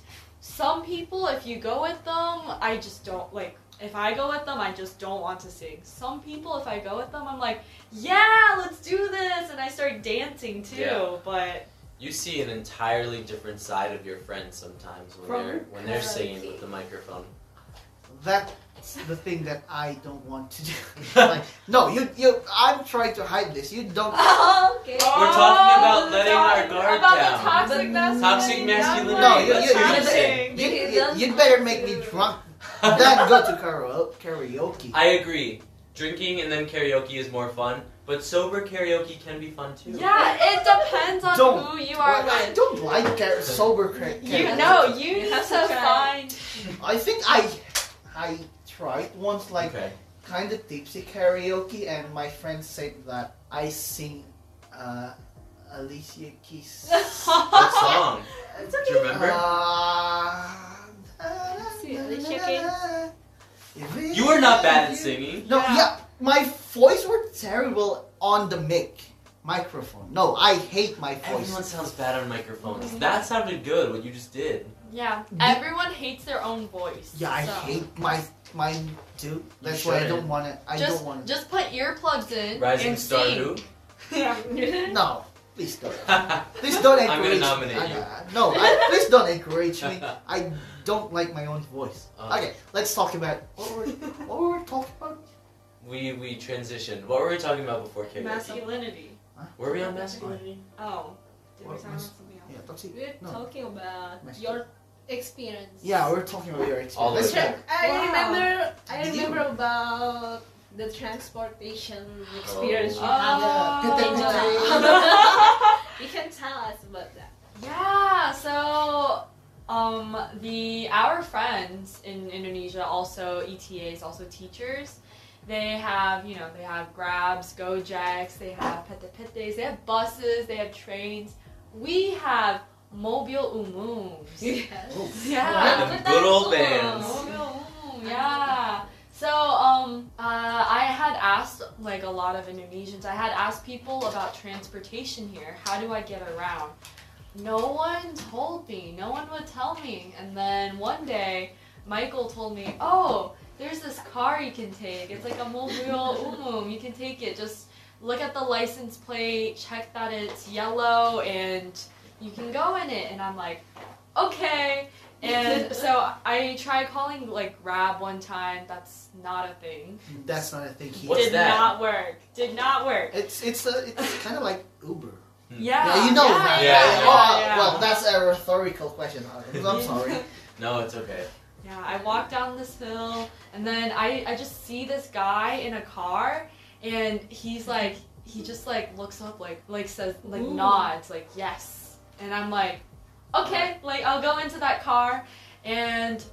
[SPEAKER 4] some people if you go with them, I just don't like if I go with them, I just don't want to sing. Some people, if I go with them, I'm like, yeah, let's do this, and I start dancing too.
[SPEAKER 6] Yeah.
[SPEAKER 4] But
[SPEAKER 6] You see an entirely different side of your friends sometimes when
[SPEAKER 5] From
[SPEAKER 6] they're when they're singing
[SPEAKER 5] karaoke.
[SPEAKER 6] with the microphone.
[SPEAKER 2] That's the thing that I don't want to do. like, no, you, you, I'm trying to hide this. You don't.
[SPEAKER 5] okay.
[SPEAKER 6] We're talking about letting our guard
[SPEAKER 4] about
[SPEAKER 6] down.
[SPEAKER 4] The toxic masculinity.
[SPEAKER 6] Toxic masculinity,
[SPEAKER 2] No, you,
[SPEAKER 6] that's
[SPEAKER 2] you, you,
[SPEAKER 6] what I'm
[SPEAKER 2] you-
[SPEAKER 6] saying.
[SPEAKER 2] you,
[SPEAKER 5] He
[SPEAKER 2] you,
[SPEAKER 5] doesn't
[SPEAKER 2] you'd better
[SPEAKER 5] want
[SPEAKER 2] make me
[SPEAKER 5] to.
[SPEAKER 2] drunk than go to karaoke. karaoke.
[SPEAKER 6] I agree. Drinking and then karaoke is more fun, but sober karaoke can be fun too.
[SPEAKER 4] yeah, it depends on
[SPEAKER 2] Don't.
[SPEAKER 4] who you are
[SPEAKER 2] Well, I
[SPEAKER 4] with.
[SPEAKER 2] don't like car- sober karaoke.
[SPEAKER 4] You know, you,
[SPEAKER 5] You
[SPEAKER 4] need
[SPEAKER 5] have
[SPEAKER 4] to
[SPEAKER 5] to try.
[SPEAKER 4] find.
[SPEAKER 2] I think I, I tried once, like
[SPEAKER 6] okay.
[SPEAKER 2] kind of tipsy karaoke, and my friend said that I sing, uh, Alicia Keys.
[SPEAKER 6] What song?
[SPEAKER 2] Do
[SPEAKER 6] Do you remember?
[SPEAKER 5] See, Alicia Keys.
[SPEAKER 6] You were not bad at singing.
[SPEAKER 2] No,
[SPEAKER 4] Yeah.
[SPEAKER 2] yeah. my voice were terrible on the mic, microphone. No, I hate my voice.
[SPEAKER 6] Everyone sounds bad on
[SPEAKER 4] Mm-hmm.
[SPEAKER 6] microphones. That sounded good. What you just did.
[SPEAKER 4] Yeah, everyone hates their own voice.
[SPEAKER 2] Yeah, I
[SPEAKER 4] so.
[SPEAKER 2] hate my mine too. That's why I don't
[SPEAKER 6] shouldn't.
[SPEAKER 2] want to. I
[SPEAKER 4] Just,
[SPEAKER 2] don't want to.
[SPEAKER 4] just put earplugs in
[SPEAKER 6] Rising
[SPEAKER 4] and
[SPEAKER 6] star
[SPEAKER 4] sing.
[SPEAKER 6] who?
[SPEAKER 2] No, please don't.
[SPEAKER 6] I'm
[SPEAKER 2] Please don't
[SPEAKER 6] I'm gonna
[SPEAKER 2] encourage.
[SPEAKER 6] nominate
[SPEAKER 2] I-
[SPEAKER 6] you.
[SPEAKER 2] I- no, I, please don't encourage me. I don't like my own voice.
[SPEAKER 6] Uh.
[SPEAKER 2] Okay, let's talk about what were what were we talking about?
[SPEAKER 6] We we transitioned. What were we talking about before karaoke?
[SPEAKER 4] Masculinity.
[SPEAKER 6] Were we on masculinity?
[SPEAKER 4] Oh. Did we
[SPEAKER 2] What
[SPEAKER 4] talk about
[SPEAKER 2] was-
[SPEAKER 4] something else?
[SPEAKER 2] Yeah, toxic.
[SPEAKER 5] We're
[SPEAKER 2] No.
[SPEAKER 5] talking about
[SPEAKER 2] Masculinity.
[SPEAKER 5] your experience.
[SPEAKER 2] Yeah, we're talking about your experience.
[SPEAKER 6] All of
[SPEAKER 2] Let's
[SPEAKER 6] it.
[SPEAKER 2] go.
[SPEAKER 5] Tra- I
[SPEAKER 4] Wow.
[SPEAKER 5] remember. I
[SPEAKER 2] Did you-
[SPEAKER 5] remember about the transportation experience
[SPEAKER 2] Oh.
[SPEAKER 5] you have. You can tell us about that.
[SPEAKER 4] Yeah, so um the our friends in Indonesia also ETAs, also teachers. They have, you know, they have Grabs, Gojeks, they have Pete Petes, they have buses, they have trains. We have mobile umums.
[SPEAKER 5] Yes.
[SPEAKER 2] Oh.
[SPEAKER 4] Yeah.
[SPEAKER 6] The good old bands.
[SPEAKER 4] Oh, yeah. So um, uh, I had asked like a lot of Indonesians. I had asked people about transportation here. How do I get around? No one told me. No one would tell me. And then one day, Michael told me, "Oh, there's this car you can take. It's like a mobile umum. You can take it. Just look at the license plate. Check that it's yellow, and you can go in it." And I'm like, "Okay." And so I tried calling like Grab one time. That's not a thing.
[SPEAKER 2] That's not a thing. He,
[SPEAKER 6] What's
[SPEAKER 4] Did
[SPEAKER 6] that?
[SPEAKER 4] not work. Did not work.
[SPEAKER 2] it's it's a, it's kind of like Uber.
[SPEAKER 6] Hmm.
[SPEAKER 4] Yeah.
[SPEAKER 2] yeah, you know
[SPEAKER 4] yeah,
[SPEAKER 2] that.
[SPEAKER 6] yeah,
[SPEAKER 2] right?
[SPEAKER 6] yeah,
[SPEAKER 2] oh,
[SPEAKER 4] yeah.
[SPEAKER 2] well, that's a rhetorical question. I'm I'm
[SPEAKER 4] Yeah.
[SPEAKER 2] sorry.
[SPEAKER 6] Hmm. No, it's okay.
[SPEAKER 4] Yeah, I walk down this hill and then I, I just see this guy in a car and he's like he just like looks up like like says like
[SPEAKER 5] Ooh.
[SPEAKER 4] nods like yes. And I'm like, okay, like I'll go into that car and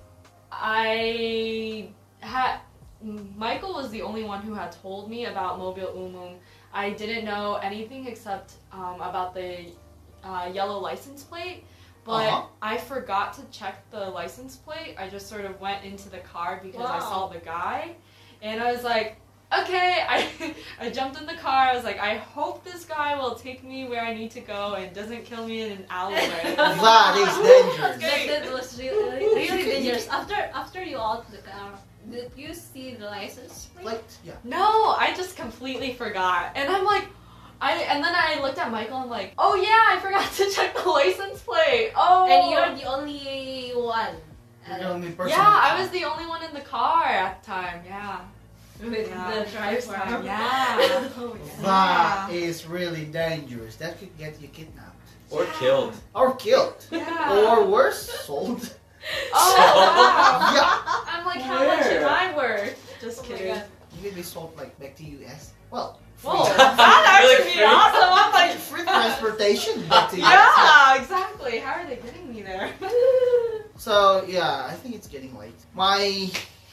[SPEAKER 4] I had Michael was the only one who had told me about Mobile Umum. I didn't know anything except um, about the uh, yellow license plate, but
[SPEAKER 2] Uh-huh.
[SPEAKER 4] I forgot to check the license plate. I just sort of went into the car because I
[SPEAKER 5] Wow.
[SPEAKER 4] saw the guy, and I was like, okay. I I jumped in the car. I was like, I hope this guy will take me where I need to go and doesn't kill me in an alleyway.
[SPEAKER 2] that is dangerous.
[SPEAKER 5] That, that was really, really
[SPEAKER 2] You can-
[SPEAKER 5] dangerous. After after you out the car, did you see the license plate?
[SPEAKER 2] Like, yeah.
[SPEAKER 4] No, I just completely forgot. And I'm like, I and then I looked at Michael. I'm like, oh yeah, I forgot to check the license plate. Oh,
[SPEAKER 5] And you're the only one.
[SPEAKER 2] You're the
[SPEAKER 5] uh,
[SPEAKER 2] only person.
[SPEAKER 4] yeah, I was the only one in the car at the time. Yeah,
[SPEAKER 5] with
[SPEAKER 4] yeah.
[SPEAKER 5] the driver.
[SPEAKER 4] Yeah.
[SPEAKER 5] oh my god.
[SPEAKER 2] That is really dangerous. That could get you kidnapped
[SPEAKER 6] Or killed.
[SPEAKER 2] or killed
[SPEAKER 4] yeah.
[SPEAKER 2] or worse, sold.
[SPEAKER 4] oh wow.
[SPEAKER 2] yeah,
[SPEAKER 4] I'm like, how much
[SPEAKER 6] Where?
[SPEAKER 4] am I worth? Just
[SPEAKER 5] Oh my
[SPEAKER 4] kidding.
[SPEAKER 5] God.
[SPEAKER 2] you could be sold like back to U.S. Well, free,
[SPEAKER 4] Whoa,
[SPEAKER 6] Really
[SPEAKER 4] that actually be
[SPEAKER 6] free.
[SPEAKER 4] awesome. I'm like,
[SPEAKER 2] free transportation back to U.S.
[SPEAKER 4] yeah, exactly. How are they getting me there?
[SPEAKER 2] So yeah, I think it's getting late. My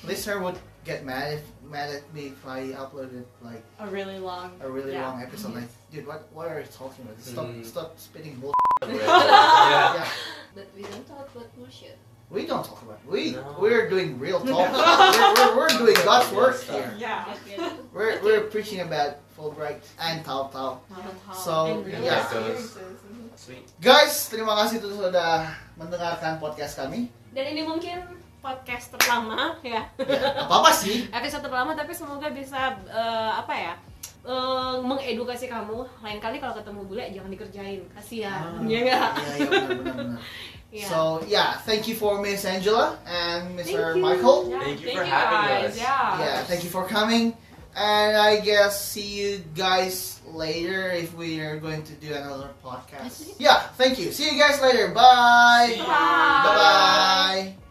[SPEAKER 2] listener would get mad if mad at me if I uploaded like
[SPEAKER 4] A really long.
[SPEAKER 2] a really
[SPEAKER 4] Yeah.
[SPEAKER 2] long episode. Like, dude, what what are you talking about? Stop
[SPEAKER 6] Mm.
[SPEAKER 2] stop spitting bull.
[SPEAKER 6] yeah.
[SPEAKER 2] yeah,
[SPEAKER 5] But we don't talk about more shit.
[SPEAKER 2] we don't talk about. We
[SPEAKER 6] No.
[SPEAKER 2] we're doing real talk. we're, we're, we're doing God's work here.
[SPEAKER 4] Yeah.
[SPEAKER 5] Okay.
[SPEAKER 2] We're we're preaching about Fulbright and Tao Tao. So,
[SPEAKER 4] And real
[SPEAKER 6] yeah.
[SPEAKER 4] experiences.
[SPEAKER 6] Sweet.
[SPEAKER 2] Guys, terima kasih tuh sudah mendengarkan podcast kami.
[SPEAKER 5] Dan ini mungkin podcast terlama ya.
[SPEAKER 2] apa apa sih
[SPEAKER 5] episode terlama tapi semoga bisa eh, apa ya eh, mengedukasi kamu lain kali kalau ketemu bule jangan dikerjain
[SPEAKER 2] Ah,
[SPEAKER 5] kasihan ya nggak
[SPEAKER 2] Iya, iya, benar, benar, benar.
[SPEAKER 5] Iya.
[SPEAKER 2] So yeah, thank you for Miss Angela and
[SPEAKER 5] Thank
[SPEAKER 2] Mr.
[SPEAKER 5] you. Ah.
[SPEAKER 2] Michael.
[SPEAKER 5] Yeah,
[SPEAKER 6] Thank you
[SPEAKER 4] Thank
[SPEAKER 6] for
[SPEAKER 4] you
[SPEAKER 6] having
[SPEAKER 4] guys.
[SPEAKER 6] us.
[SPEAKER 4] Yeah.
[SPEAKER 2] Yeah, thank you for coming. And I guess see you guys later if we are going to do another podcast. Yeah, thank you. See you guys later. Bye.
[SPEAKER 6] See you.
[SPEAKER 2] Bye bye.